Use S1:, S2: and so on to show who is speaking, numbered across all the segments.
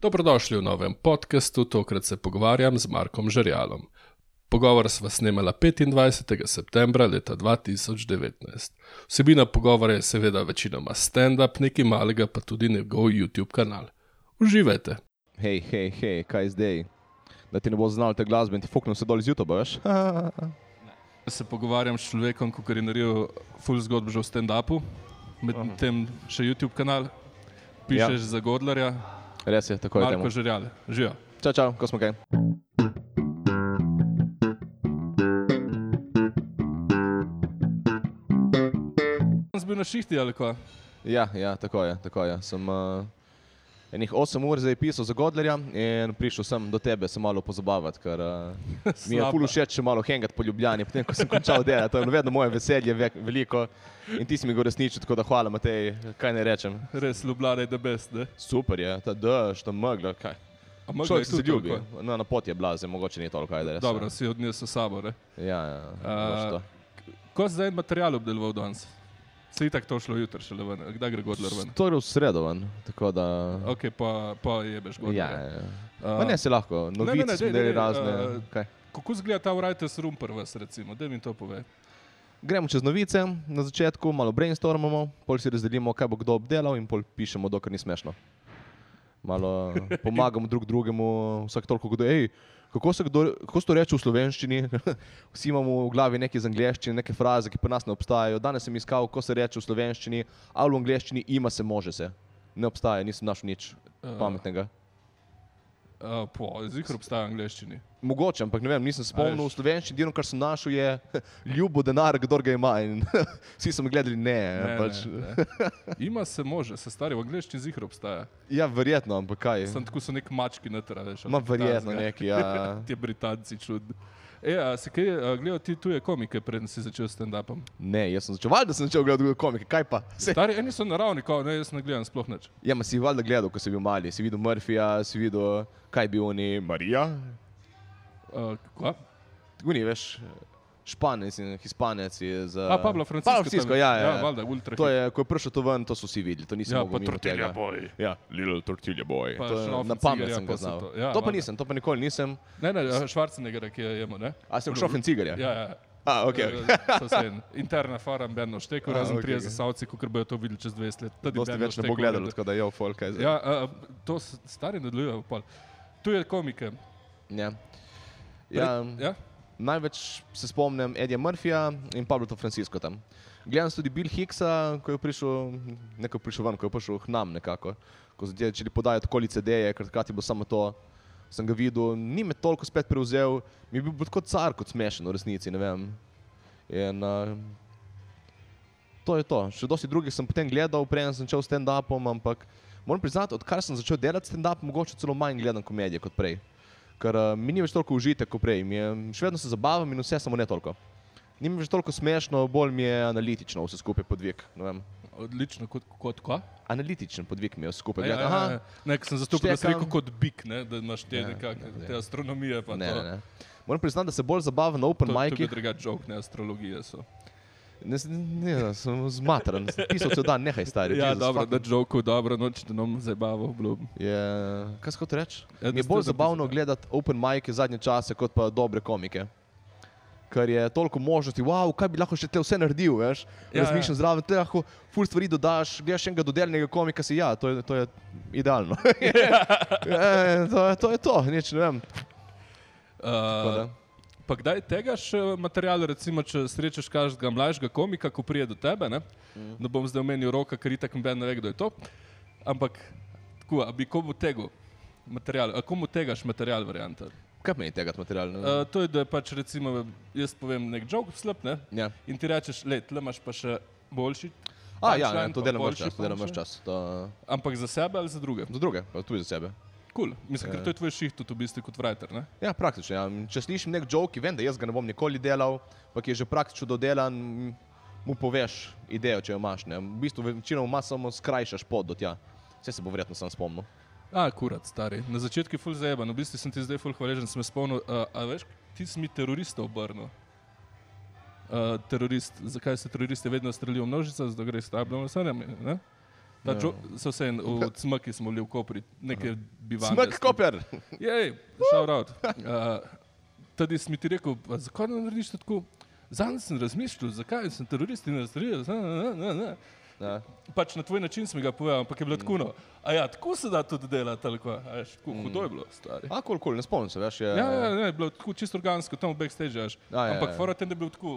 S1: Dobrodošli v novem podkastu, tokrat se pogovarjam z Markom Žerjalom. Pogovor sva snemala 25. septembra leta 2019. Vsebina pogovora je seveda večinoma stand-up, nekaj malega pa tudi njegov YouTube kanal. Uživajte.
S2: hej, hej, hej, kaj zdaj? Da ti ne bo znal te glasbe in ti fuknil vse dol iz YouTube, veš?
S1: Se pogovarjam s človekom, ki je naredil full zgodb že v stand-upu, medtem še YouTube kanal,
S2: Pišeš
S1: ja. za Godlerja,
S2: Res je, tako je temu.
S1: Žerjal. Živijo.
S2: Čau, čau, ko smo kaj.
S1: Sem bil na šihti ali kaj?
S2: Ja, ja, tako je, tako je. Sem uh, enih 8 ur zdaj pisal za Godlerja in prišel sem do tebe se malo pozabavati, ker uh, mi je
S1: Slaba.
S2: ful všeč še malo hengat po Ljubljani, potem ko sem končal delati, to je vedno moje veselje ve veliko in ti si mi ga uresničil, tako da hvala Matej, kaj ne rečem.
S1: Res, Ljubljana je the best, ne?
S2: Super je, ta dež, ta megla, kaj.
S1: A mogla
S2: Človek
S1: je
S2: se ja.
S1: tudi
S2: ljubi,
S1: ali kaj?
S2: na, na pot je blazen, mogoče ni toliko, kaj da res.
S1: Dobro, si odnesel s sabo. ne?
S2: Ja, ja,
S1: Eh,
S2: uh, to.
S1: Ko si zdaj en material obdeloval danes? Se je tako šlo jutri, šele ven, ali kdaj gre Godler ven.
S2: To je v sredo, ven, tako da.
S1: Ok, pa, pa jebeš
S2: Okay. Ja,
S1: Godler.
S2: ja.
S1: A,
S2: Uh, ne, se lahko,
S1: ne,
S2: novice
S1: ne, daj,
S2: ne, ne, ne,
S1: daj,
S2: ne, razne.
S1: eh,
S2: Uh, kaj?
S1: Kako zgleda ta Writers Room prvas, recimo? Da mi to pove.
S2: Gremo čez novice, na začetku malo brainstormamo, pol si razdelimo, kaj bo kdo obdelal in pol pišemo, dokler ni smešno. Malo eh, pomagamo drug drugemu, vsak toliko kdo je. Kako se kdo, kako se to reče v slovenščini? Vsi imamo v glavi nekaj iz angleščine, neke fraze, ki pri nas ne obstajajo. Danes sem iskal, kako se reče v slovenščini, ali v angleščini ima se, može se. Ne obstaja, nisem našel nič
S1: Eh.
S2: pametnega.
S1: Uh, po, zikr obstaja v angleščini.
S2: Mogoče, ampak ne vem, nisem spomnil.
S1: veš.
S2: V slovenščini dino, kar sem našel, je ljubo denar, kdo ga ima. In vsi so me gledali, ne. ne,
S1: Ne,
S2: pač,
S1: ne,
S2: ne.
S1: ne. Ima se može, se stari v angleščini zikr obstaja.
S2: Ja, verjetno, ampak kaj.
S1: Sem tako so nek mački natra, veš. ali
S2: Ma
S1: kaj
S2: verjetno
S1: takega.
S2: neki, ja. ja.
S1: Ti Britanci čudni. E, a si kaj a, gledal ti tuje komike, preden si začel s stand-upom?
S2: Ne, jaz sem začel, valjda sem začel gledati komike, kaj pa. Se,
S1: Stari, eni so naravni, kao, ne, jaz ne gledam sploh nič.
S2: ja, ma si valjda gledal, ko si bil mali, si videl Murphyja, si videl, kaj bi oni, Marija.
S1: Uh, kva?
S2: Guni, veš, Španec in Hispanec je za...
S1: A, Pablo Francisco.
S2: Pablo Francisco,
S1: tam-
S2: ja, ja.
S1: Ja, valjda, ultra.
S2: To je, ko je prišel to ven, to so vsi videli, to nisem
S1: Ja,
S2: mogel
S1: pa
S2: mimo
S1: tortilja
S2: tega.
S1: boj.
S2: Ja, Little Tortilla Boy.
S1: Pa
S2: To je-
S1: šrofen
S2: Na pamet
S1: cigarja,
S2: sem
S1: pa
S2: ga
S1: so
S2: znal.
S1: to-
S2: To,
S1: ja,
S2: ja, to pa
S1: valjda.
S2: nisem, to pa nikoli nisem.
S1: Ne, ne, Švarcenegger, ki jo jemo, ne?
S2: A sem šel cigarja?
S1: Ja, ja.
S2: A, ok. okay.
S1: Okay. Interna fara, Berno Šteku,
S2: A,
S1: razen
S2: okej,
S1: prije
S2: okej.
S1: za Savci, ko bojo to videli čez 20 let. Tudi
S2: Dosti
S1: Berno
S2: več ne bo
S1: Šteku
S2: gledalo,
S1: gleda.
S2: tako da je ofol kaj zdaj.
S1: Ja, a, to s- stari nadaljuje. pol. Tu je komike.
S2: Ja.
S1: Pre-
S2: Ja,
S1: ja?
S2: največ se spomnim Edija Murphyja in Pablo Francisco tam. Gledam tudi Bill Hicksa, ko je prišel, neko prišel ven, ko je prišel k nam nekako. Ko so ti začeli podajati okolice ideje, ker takrat je bilo samo to. Sem ga videl, ni me toliko spet prevzel, mi je bil bolj kot car, kot smešen v resnici, ne vem. In, uh, to je to. Še dosti drugih sem potem gledal, preden sem začel s stand-upom, ampak moram priznati, odkar sem začel delati stand-up, mogoče celo manj gledam komedije kot prej. Ker uh, mi ni več toliko užitek kot prej, mi je, še vedno se zabavam in vse, samo ne toliko. Ni mi več toliko smešno, bolj mi je analitično vse skupaj podvig. ne vem.
S1: Odlično, kot, kot kva?
S2: Analitičen podvig mi je vse skupaj.
S1: Ja, ja, ja,
S2: Gledam, aha,
S1: ja. Nek sem zastopil, da si
S2: Štekam.
S1: rekel kot bik, ne, da imaš te,
S2: Ja,
S1: nekak,
S2: ne, ne.
S1: te astronomije. pa
S2: ne,
S1: to.
S2: ne, ne. Moram priznati, da se bolj zabavam na open
S1: To je tudi
S2: micih.
S1: drugačen žog, ne astrologije so.
S2: Ne, s- ne, sem zmatran, pisal se da, nehaj stari.
S1: Ja,
S2: Jesus,
S1: dobro,
S2: fuck.
S1: da žogov, dobro, noč, da nam zabavo obljubim.
S2: Je, kaj se kot reče?
S1: Ja,
S2: Ja,
S1: da
S2: mi je
S1: ste
S2: bolj
S1: za-
S2: zabavno gledati open mike zadnje čase, kot pa dobre komike. Ker je toliko možnosti, wow, kaj bi lahko še te vse naredil, veš?
S1: Ja,
S2: Ja,
S1: ja.
S2: Razmišljam ja. zraven, te lahko ful stvari dodaš, gledaš enega dodelnega komika, si ja, to je, to je idealno.
S1: Ja.
S2: e, to, je- to je to, nič ne vem. Tako da.
S1: Uh, pa kdaj tega še material, recimo, če srečaš kakšnega mlajšega komika, ko prije do tebe, ne,
S2: Mhm.
S1: mm. ne bom zdaj omenil roka, ker itak noben ne ve, kdo je to, ampak tako, a bi komu tegu material, a komu tegaš material varianta?
S2: Kaj meni tega materialno? Uh,
S1: Uh, to je, da je pač recimo, jaz povem nek žog slab, ne,
S2: ja.
S1: in ti rečeš, le, tle imaš pa še boljši.
S2: A, ja,
S1: punchline,
S2: ja, to
S1: pa
S2: delam več
S1: boljši
S2: čas, to delam več
S1: punchline.
S2: čas. To,
S1: Ampak za sebe ali za druge?
S2: za druge, pa tudi za sebe.
S1: Cool. Mislim, ker
S2: Ja.
S1: to je tvoj šiht, tudi v bistvu kot writer. Ne?
S2: Ja, praktično. Ja. Če slišim nek joke, ki vem, da jaz ga ne bom nikoli delal, pa ki je že praktično dodelan, m, mu poveš idejo, če jo imaš. Ne. V bistvu večinoma ima samo skrajšaš pot do tja. Vse se bo verjetno sam spomnil.
S1: A, kurat, stari. Na začetku je ful zajeban, v bistvu sem ti zdaj ful hvaležen, sem se spomnil, a, a veš, ti si mi terorista obrnil. Uh, terorist, zakaj se teroristi vedno strelijo v množice, zato gre s tablom vse ne? Ta jo, so vse en, v cmki smo bili v Kopri, nekaj bivanje.
S2: Smrk koper!
S1: Jej, shout out. Uh, Tudi sem ti rekel, "Pa zakaj ne narediš tako? Zanj sem razmišljal, zakaj sem terorist in razstrelil. zna, zna, zna, zna."
S2: Ja.
S1: Pač na tvoj način sem ga povedal, ampak je bilo tako. no. A ja, tako se da tudi delati, ali kaj. A veš, tako Hudo je bilo, stari.
S2: A kol, kol, ne spomnim se, veš. Je,
S1: Ja, ja, ne, je bilo tako čisto organsko, tam v backstage. veš.
S2: A, ja,
S1: Ampak
S2: ja.
S1: fora tem, da je bil tako.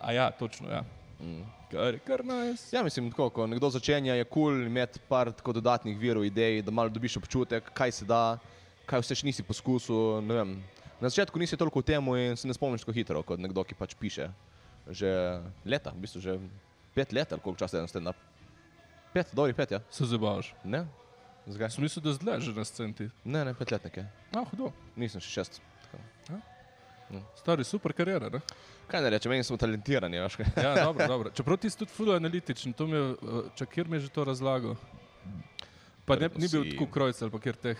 S1: A ja, točno, ja.
S2: Mm,
S1: Kar, kar naj.
S2: Ja, mislim, tako, ko nekdo začenja, je kul cool imeti par tako dodatnih virov, idej, da malo dobiš občutek, kaj se da, kaj vse še nisi poskusil. ne vem. Na začetku nisi toliko v tem in se ne spomniš tako hitro kot nekdo, ki pač piše. Že leta, v bistvu že pet let, ali koliko časa je na stand-up. Pet, dobrih pet, ja.
S1: Se zabavaš.
S2: Ne? Zakaj?
S1: Sem mislil, da zdaj že na sceni. ti.
S2: Ne, ne, petletnike.
S1: A, hudo.
S2: Nisem še šest. Tako.
S1: Stari, super karjera, ne?
S2: Kaj ne rečem, meni smo talentirani, veš kaj.
S1: Ja, dobro, dobro. Čeprav ti si tudi fudo analitičen, to mi je, eh, čakir mi je že to razlagal. Pa ne, ni bil
S2: Si-
S1: tako krojc ali pa kjer teh.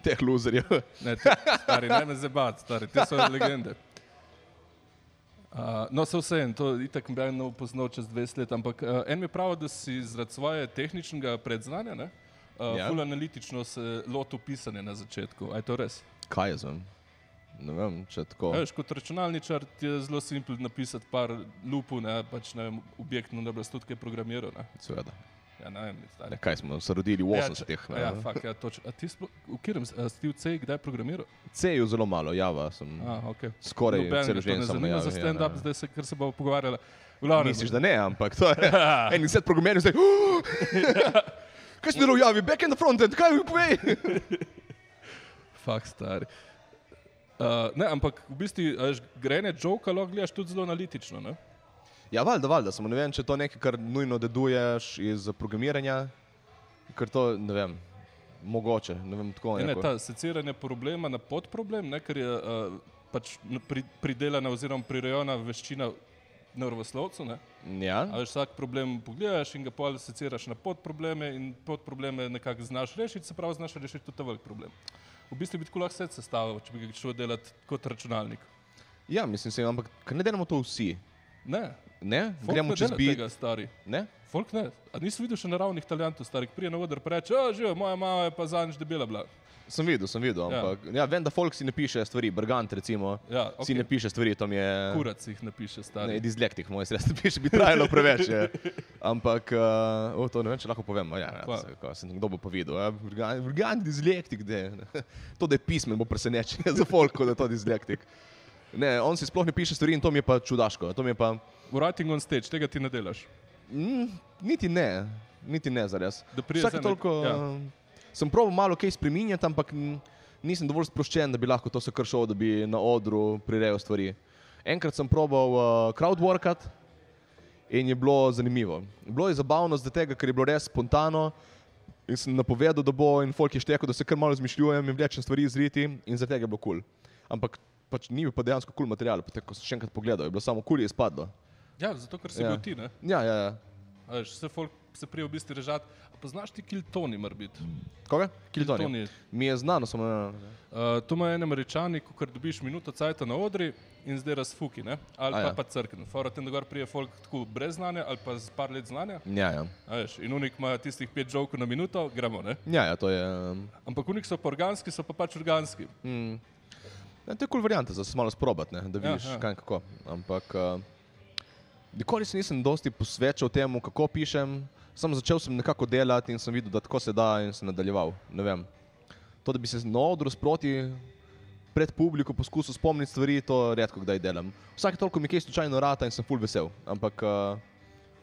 S2: Teh loserjev.
S1: Ne, te, stari, ne me zabavati, stari, te so legende. Uh, no, se vseeno, to itak bi ne upoznal čez 20 let, ampak uh, en mi pravi, da si zaradi svoje tehničnega predznanja, ne, uh,
S2: Ja.
S1: ja. full analitično se lotil pisanja na začetku. A je to res?
S2: Kaj jaz vem? Ne vem, če tako.
S1: Ja, veš, kot računalničar ti je zelo simpel napisati par lupov, ne, pač ne vem, objektno, da bi se tudi kaj programiral. Ne.
S2: Seveda.
S1: Ja, ne vem, stari.
S2: Ne, kaj smo se rodili v 80-ih?
S1: Ja, ja, fakt, ja, točno. A ti sploh, v katerem, s- a si ti v C, kdaj programiral?
S2: C-ju zelo malo, Java sem.
S1: A, okay.
S2: Skoraj Torej, celo življenje sem
S1: sem. Ne,
S2: na
S1: za
S2: Javi, ja,
S1: stand-up,
S2: ja.
S1: zdaj se, ker se bomo pogovarjali. Glavno,
S2: Misliš, da ne, ampak to je. En set programerjev zdaj. "Uh!" Kaj si delal v Javi, back in the front end, kaj mi povej?
S1: Fak star. Uh, ne, ampak v bistvu a veš, grene joka lahko gledaš tudi zelo analitično. Ne?
S2: Ja, valjda, valjda, samo ne vem, če je to nekaj, kar nujno deduješ iz programiranja, ker to, ne vem, mogoče, ne vem, ja, tako
S1: Ne, ne,
S2: nekako.
S1: ta seciranje problema na podproblem, ne, ker je uh, pač n- pri, pridelana oziroma prirejena veščina nervoslovcu. Ne? A
S2: Ja,
S1: veš, vsak problem pogledaš in ga pol seciraš na podprobleme in podprobleme nekako znaš rešiti, se pravi, znaš rešiti tudi ta velik problem. V bistvu bi tako lahko vse sestavil, če bi ga šel delati kot računalnik.
S2: ja, mislim se, ampak ker ne delamo to vsi,
S1: Ne,
S2: ne?
S1: folk
S2: Gremo
S1: ne
S2: čez
S1: dela
S2: bit,
S1: tega, stari.
S2: ne?
S1: Folk ne. A nisi videl še naravnih talentov, stari, ki prije na oder pa reče, "O, živijo, moja mama je pa zadnjič debela bila.
S2: Sem videl, sem videl, ampak ja. Ja, vem, da folk si ne piše stvari, Brgant recimo,
S1: Ja,
S2: si ne
S1: okay.
S2: piše stvari, tam je...
S1: Kurac jih napiše,
S2: Ne,
S1: stari.
S2: dislektik, moj sredstvo piše, bi trajalo preveč. Je. Ampak, uh, o, to ne vem, če lahko povem. a Ja, ja,
S1: Kva?
S2: se- ko se kdo bo povedal? Ja, Vrgan dislektik, de. to, da je pismen, bo presenečenje za folko, da je to dislektik. Ne, on si sploh ne piše stvari in to mi je pa čudaško. To mi je pa,
S1: Writing on stage, tega ti ne delaš.
S2: mm, niti ne, niti ne za res.
S1: Da pride
S2: Vsak
S1: zdaj
S2: toliko,
S1: nek- ja.
S2: ja. sem proval malo kaj spreminjati, ampak mm, nisem dovolj sproščen, da bi lahko to se kršil, da bi na odru prirejal stvari. Enkrat sem probal uh, crowdworkat in je bilo zanimivo. Bilo je zabavno zaradi tega, ker je bilo res spontano. In sem napovedal, da bo in folk je štekel, da se kar malo zmišljujem in vlečem stvari iz riti in zaradi tega je bilo kul. Cool. Ampak pač ni bil pa dejansko kul cool material, potem ko sem še enkrat pogledal, je bilo samo kul cool je izpadlo.
S1: Ja, zato ker si
S2: Ja.
S1: ja. bil ti, ne.
S2: Ja, ja, ja.
S1: A veš, vse folk se prije v bistvu režati. A poznaš ti kiltoni, mora biti?
S2: Koga?
S1: Kiltoni.
S2: Kiltoni. Mi je znano, samo ja, ja.
S1: Uh, to ima en američani, ko kar dobiš minuto cajta na odri in zdaj razfuki, ne? ali
S2: A
S1: pa,
S2: ja.
S1: ja. pa crkven. Fora tem, da gor prije folk tako brez znanja ali pa z par let znanja.
S2: Ja, ja.
S1: A Veš, in unik ima tistih pet žovkov na minuto, gremo. Ne?
S2: Ja, ja, to je. um,
S1: Ampak unik so pa organski, so pa pač organski.
S2: Ja, to je kul cool varianta, da se malo sprobati, ne, da
S1: Ja,
S2: vidiš ja,
S1: ja.
S2: ja. kaj in kako. Ampak uh, nikoli se nisem dosti posvečal temu, kako pišem. Sam začel sem nekako delati in sem videl, da tako se da in sem nadaljeval. Ne vem. To, da bi se na odru sproti pred publiko poskusil spomniti stvari, to redko kdaj delam. Vsake toliko mi kaj slučajno rata in sem full vesel. Ampak uh,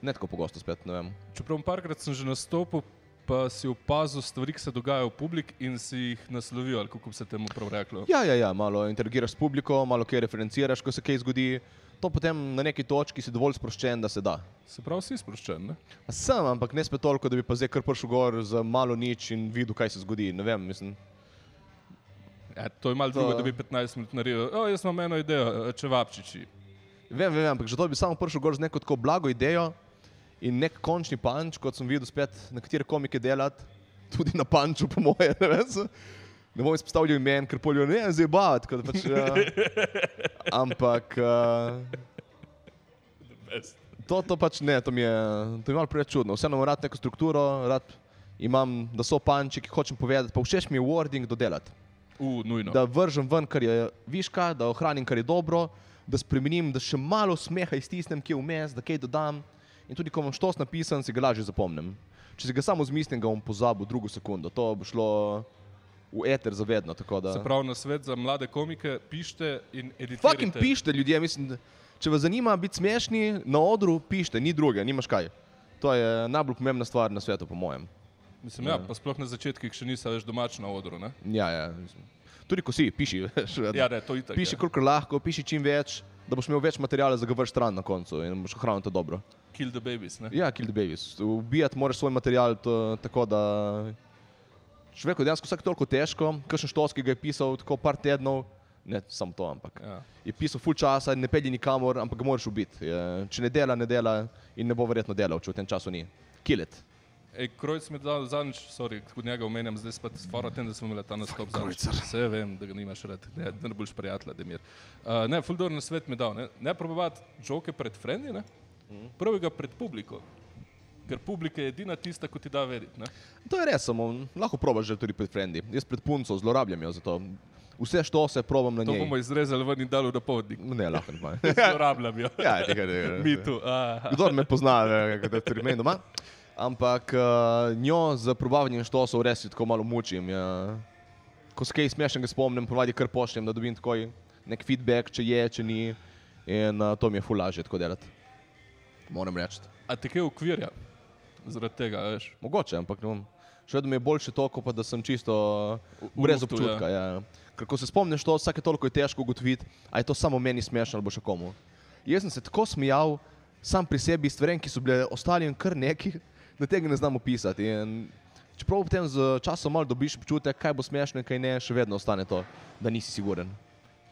S2: ne tako pogosto spet, ne vem.
S1: Čeprav parkrat sem že nastopil, pa si opazil stvari, ki se dogajajo v publik in si jih naslovil, ali kako bi se temu prav reklo.
S2: Ja, ja, ja, malo interagiraš s publiko, malo kaj referenciraš, ko se kaj zgodi. To potem na neki točki si dovolj sproščen, da se da.
S1: Se pravi, si sproščen. Ne?
S2: Sem, ampak ne spet toliko, da bi pa zdaj kar prišel gor za malo nič in videl, kaj se zgodi. Ne vem, mislim.
S1: Ja, to je malo
S2: To-
S1: drugo, da bi 15 minut naredil. O, jaz imam eno idejo, e, če vapčiči.
S2: Vem, vem, vem, ampak že to bi samo prišel gor z neko tako blago idejo in nek končni panč, kot sem videl spet nekatere komike delati, tudi na panču, po moje. Ne, vem, se- ne bom izpostavljal imen, ker polijo ne zdaj bavati. Pač, ja. Ampak. Uh, eh, To, to pač ne, to mi je, to mi je malo preveč čudno. Vseeno imam rad neko strukturo, rad imam, da so panči, ki hočem povedati, pa všeč mi je wording dodelati.
S1: U, nujno.
S2: Da vržem ven, kar je viška, da ohranim, kar je dobro, da spremenim, da še malo smeha iztisnem, ki je vmes, da kaj dodam. In tudi, ko imam štos napisan, si ga lažje zapomnim. Če si ga samo zmislim, ga bom pozabil drugo sekundo. To bo šlo v eter zavedno. tako Da...
S1: Se pravi, na svet za mlade komike pišite in editirate.
S2: Fucking pišite ljudje, mislim, da- če vas zanima biti smešni na odru, pišite, ni druge, nimaš kaj. To je najbolj pomembna stvar na svetu, po mojem.
S1: Mislim, ja, pa sploh na začetkih še nisi več domač na odru. Ne?
S2: Ja, ja. mislim. Tudi ko si, piši, veš, vedno.
S1: Ja, ne, to je tako.
S2: piši kolikor lahko, piši čim več, da boš imel več materijala za ga vrš stran na koncu in boš ohranil to dobro.
S1: Kill the babies. Ne?
S2: Ja, kill the babies. Ubijati moraš svoj material to, tako, da človeku je dejansko vsak toliko težko, kakšen štovski ga je pisal tako par tednov, ne samo to, ampak.
S1: Ja.
S2: je pisal full časa, ne pelje nikamor, ampak ga moraš ubiti. Je, Če ne dela, ne dela in ne bo verjetno delal, če v tem času ni. Kilet.
S1: Ej, Krojc mi je dal zadnjič, sorry, kot njega omenjam, zdaj spet sporo tem, da smo imeli ta nastop zadnjič. Vse vem, da ga nimaš rad, ne, da ne boš prijatelj, Demir. Uh, ne, Fuldor na svet mi je dal, ne, ne probavati žoke pred frendi, ne, prvega pred publiko, ker publika je edina tista, ki ti da verjeti, ne.
S2: To je res, samo lahko probaš že tudi pred frendi. Jaz pred punco zlorabljam jo za to. Vse što se probam na
S1: To
S2: njej.
S1: bomo izrezali ven in dali v dopolednik.
S2: Ne, lahko ne. manj.
S1: Zlorabljam jo.
S2: ja, tega ne.
S1: Mi tu. aha.
S2: Kdo me pozna, ve, kako je pri meni doma. Ampak uh, njo z probavanjem štosov res je tako malo mučim. Ja. Ko se kaj smešnega spomnim, ponovadi kar pošljem, da dobim takoj nek feedback, če je, če ni. In uh, to mi je fulaže tako delati. Moram reči.
S1: A te kaj ukvirja? Zaradi tega, a veš.
S2: Mogoče, ampak no, še vedno mi je boljše to, kot pa da sem čisto uh,
S1: V- v
S2: brez
S1: luftu,
S2: občutka. Ja. Ja. Ker ko se spomniš to, vsake toliko je težko ugotoviti, ali je to samo meni smešno ali bo še komu. Jaz sem se tako smejal sam pri sebi iz stvarem, ki so bile ostalim kar neki, da tega ne znam opisati. In čeprav potem z časom malo dobiš občutek, kaj bo smešno in kaj ne, še vedno ostane to, da nisi siguren.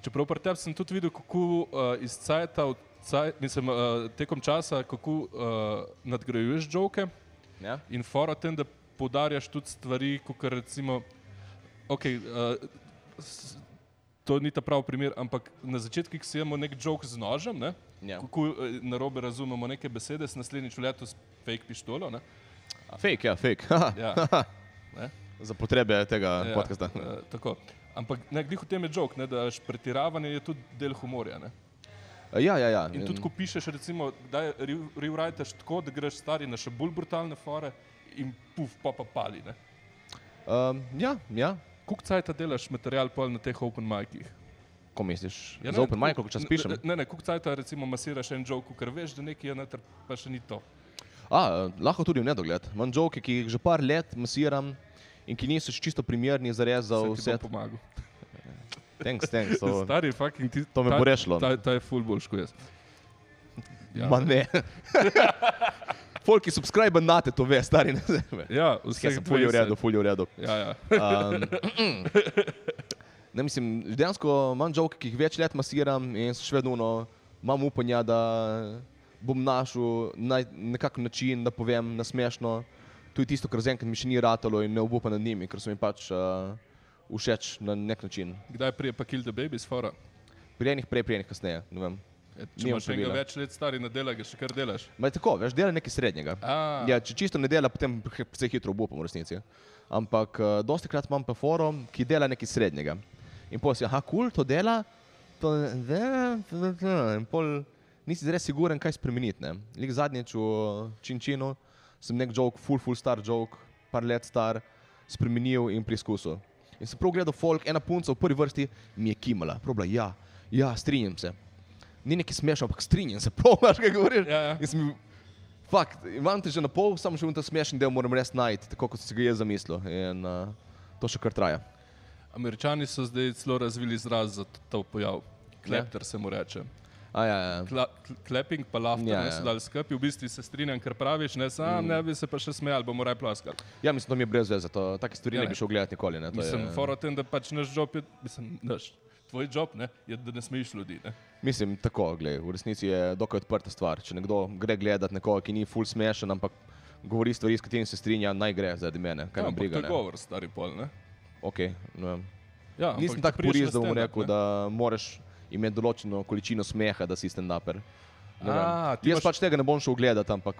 S1: Čeprav pri tebi sem tudi videl, kako uh, iz cajta, v caj, mislim, uh, tekom časa, kako uh, nadgrajuješ žoke
S2: Ja?
S1: in fora tem, da podarjaš tudi stvari, kot recimo, okay, uh, s- to ni ta pravi primer, ampak na začetku ko si imamo nek žok z nožem, ne?
S2: Ja.
S1: kako eh, narobe razumemo neke besede, s naslednjič v letu s fake pištolo. Ne?
S2: Fake, ja, fake. Haha.
S1: Ja. ne?
S2: Za potrebe tega
S1: Ja,
S2: ja. podcasta.
S1: eh, tako. Ampak ne, glih v tem je žok, ne, da veš, pretiravanje je tudi del humorja. Ne?
S2: Ja, ja, ja.
S1: In tudi, ko pišeš, recimo, da rewriteš tako, da greš stari na še bolj brutalne fore in puf, pa pa pali. Ne?
S2: um, ja, ja.
S1: Kuk cajta delaš material pol na teh open micih?
S2: Ko misliš,
S1: Ja,
S2: ja,
S1: ne,
S2: za open mic,
S1: kuk-
S2: koliko čas
S1: ne,
S2: pišem?
S1: Ne, ne, kuk cajta recimo masiraš en joke, ker veš, da nekaj je noter, pa še ni to.
S2: A, eh, lahko tudi v nedogled. Imam žoke, ki jih že par let masiram in ki niso še čisto primerni za res za
S1: Sem ti
S2: vse.
S1: bom pomagal.
S2: Thanks, thanks. To...
S1: Stari, fucking ti.
S2: to me
S1: ta-
S2: bo rešilo. no.
S1: Ta, ta je full boljš kot jaz. Ja,
S2: Ma ne. Folk, ki subscribe nate, to ve, stari ne zeme.
S1: ja vse
S2: Vse je fulje v redu, fulje v redu.
S1: Ja, ja.
S2: Um, ne, mislim, dejansko imam žoke, ki jih več let masiram in so še vedno uno, imam upanja, da bom našel naj, nekakšen način, da povem na smešno. To je tisto, kar z enkrat mi še ni ratalo in ne obupam nad njimi, ker so mi pač uh, všeč na nek način.
S1: Kdaj prije pa kill the babies, fora?
S2: Pri enih prej, pri enih kasneje. ne vem.
S1: E, Če
S2: Nimam
S1: imaš enega
S2: pravila.
S1: več let stari na dela, ga še kar delaš.
S2: Ma je tako, veš, dela nekaj srednjega.
S1: A,
S2: Ja, če čisto ne dela, potem precej hitro obupam v resnici. Ampak uh, dosti krat imam pa forum, ki dela nekaj srednjega. In pol si, aha, kul, cool, to dela, to ne dela, to ne dela. In pol nisi res siguren, kaj spremeniti. ne. Lik zadnjič v eh, Činčinu sem nek joke, full, full star joke, par let star, spremenil in preizkusil. In sem prav gledal folk, ena punca v prvi vrsti mi je kimala, probla, ja, ja, strinjam se. Ni neki smešno, ampak strinjam se, prav, veš, kaj govoriš.
S1: Ja, ja.
S2: In sem bil, Fakt, imam te že na pol, samo še v ta smešen del moram res najti, tako kot si ga jaz zamislil. In uh, to še kar traja.
S1: Američani so zdaj celo razvili izraz za t- ta pojav. Klepter se mu reče.
S2: A, ja, ja.
S1: Kla, kl- clapping pa laughter
S2: Ja,
S1: yeah, ne
S2: ja.
S1: so dali skupaj. V bistvu se strinjam, kar praviš, ne sam, mm. ne bi se pa še smejali, bomo raje ploskali.
S2: ja, mislim, to mi je brez veze, to, take stvari
S1: Ja,
S2: ja,
S1: ne.
S2: ne bi šel gledati nikoli. Ne, to
S1: Mislim,
S2: je,
S1: fora v tem, da pač naš job je, mislim, naš, tvoj job ne, je, da ne smejiš ljudi. Ne.
S2: mislim tako, glej, v resnici je dokaj odprta stvar. Če nekdo gre gledati nekoga, ki ni full smešen, ampak govori stvari, s katerimi se strinja, naj gre zaradi mene, kaj
S1: Ja,
S2: ja, me
S1: ampak to
S2: briga.
S1: je
S2: ne.
S1: govor, stari pol. Ne.
S2: Okay, ne vem.
S1: Ja, ampak
S2: Nisem
S1: če
S2: tako
S1: prideš na
S2: purist, da bom
S1: stand-up,
S2: rekel,
S1: ne.
S2: da moraš imeti določeno količino smeha, da si stand-uper. Ne vem.
S1: A, ti
S2: Jaz
S1: imaš-
S2: pač tega ne bom šel gledati, ampak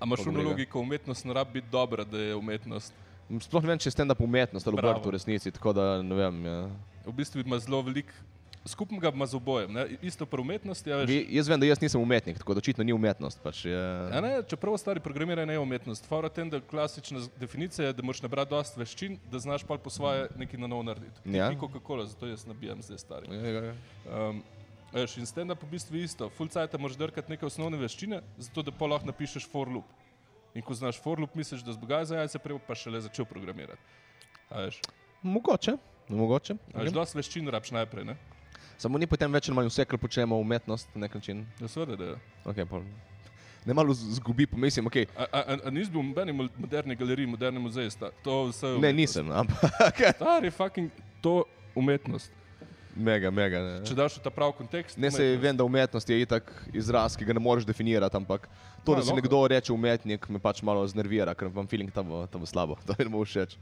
S1: A imaš
S2: Poglej
S1: ono
S2: ga.
S1: logiko, umetnost ne rabi biti dobra, da je umetnost.
S2: sploh ne vem, če je stand-up umetnost ali
S1: Bravo.
S2: obrt v resnici, tako da ne vem. Ja.
S1: V bistvu ima zelo velik, skupnega ima z obojem. Ne? Isto pri umetnosti, ja, veš,
S2: Vi, jaz vem, da jaz nisem umetnik, tako da očitno ni umetnost. Pač je,
S1: A Ja, Ne, čeprav stari programiranje je umetnost, fora tem, da klasična z- definicija je, da moraš nabrati dosta veščin, da znaš pa po svoje nekaj na novo narediti.
S2: Ja.
S1: Ni Coca-Cola, zato jaz nabijam zdaj stari.
S2: Ja, ja, ja.
S1: Um, veš, in stand-up v bistvu je isto, full cajt moraš drkati neke osnovne veščine, zato da pa lahko napišeš for loop. In ko znaš for loop, misliš, da zbogaj za jajce, prej bo pa šele začel programirati. A veš,
S2: Mogoče. Mogoče.
S1: a veš dosta veščin rabiš najprej, ne?
S2: Samo ni potem več ali manj vse, kar počnemo, umetnost na nek način.
S1: Ja, seveda, da je.
S2: Okay, pol. Ne malo z- zgubi, pomislim, okay.
S1: A, a, a, a nisi bil v nobeni mo- moderni galeriji, modernem muzeju, sta, to vse je
S2: ne,
S1: umetnost.
S2: nisem, ampak
S1: Stari fucking to umetnost.
S2: mega, mega. Ne.
S1: Če daš v ta prav kontekst,
S2: Ne se
S1: umetnost.
S2: vem, da umetnost je itak izraz, ki ga ne moreš definirati, ampak to,
S1: Ja,
S2: da si
S1: lahko.
S2: nekdo reče umetnik, me pač malo znervira, ker imam feeling, da bo, da bo slabo, da mi ne bo všeč.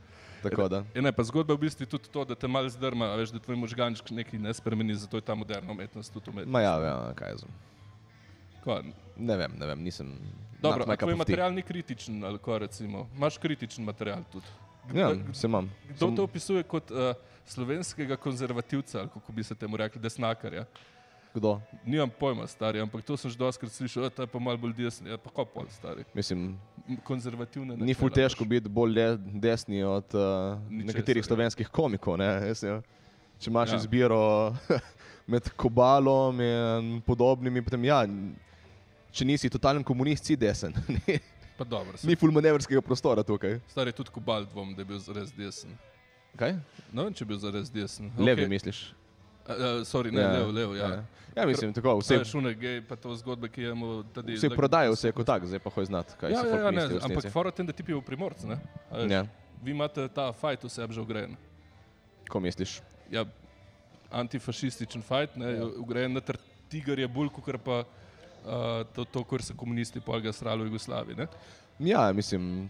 S2: Tako da.
S1: Ja, ne, pa zgodba je v bistvu tudi to, da te malo zdrma, a veš, da tvoj možganček nekaj ne spremeni, zato je ta moderna umetnost tudi umetnost.
S2: Ma ja, ja, kaj je z.
S1: Ko,
S2: Ne vem, ne vem, nisem.
S1: dobro,
S2: not my
S1: a
S2: cup
S1: tvoj
S2: of tea.
S1: material ni kritičen, ali ko recimo, imaš kritičen material tudi.
S2: Ja, se imam.
S1: Kdo te opisuje kot uh, slovenskega konzervativca, ali kako bi se temu rekli, desnakarja?
S2: Kdo?
S1: Nimam pojma, stari, ampak to sem že doskrat slišal, "E, ta je pa malo bolj desen, ja, pa ko pol, stari.
S2: Mislim,
S1: M, Konzervativne.
S2: Ni ful
S1: načela,
S2: težko
S1: veš.
S2: biti bolj le- desni od uh,
S1: Ničesar,
S2: nekaterih
S1: ja.
S2: slovenskih komikov. Ne? Jaz, ja. Če imaš
S1: Ja.
S2: ja. izbiro med kobalom in podobnimi, potem ja. n- Če nisi totalen komunist, si desen. Ni-
S1: Pa dobro, se,
S2: Ni ful manevrskega prostora tukaj.
S1: stari tudi kobal dvom, da je bil res desen.
S2: Kaj?
S1: No, in če bi bil zares desen.
S2: Levi
S1: Okej.
S2: misliš?
S1: A, a, Eh, Sorry, ne,
S2: Ja,
S1: levo, levo, ja.
S2: Ja, mislim, tako.
S1: Vse
S2: Vse,
S1: šune, gej, pa to zgodbe, ki jemo tudi.
S2: vse prodajo, vse kot tak, zdaj pa hoj znati, kaj
S1: Ja,
S2: se
S1: ja, ja, ne,
S2: misli. v
S1: ampak
S2: resnici.
S1: fora tem, da ti pijo primorci, ne? A veš,
S2: Ja,
S1: Vi imate ta fajt vse že ugrajen.
S2: ko misliš?
S1: Ja, antifašističen fajt, ne,
S2: Ja.
S1: ugrajen na tr- tiger je bolj, kot pa uh, to, to, kar so komunisti polga srali v Jugoslaviji, ne?
S2: Ja, mislim,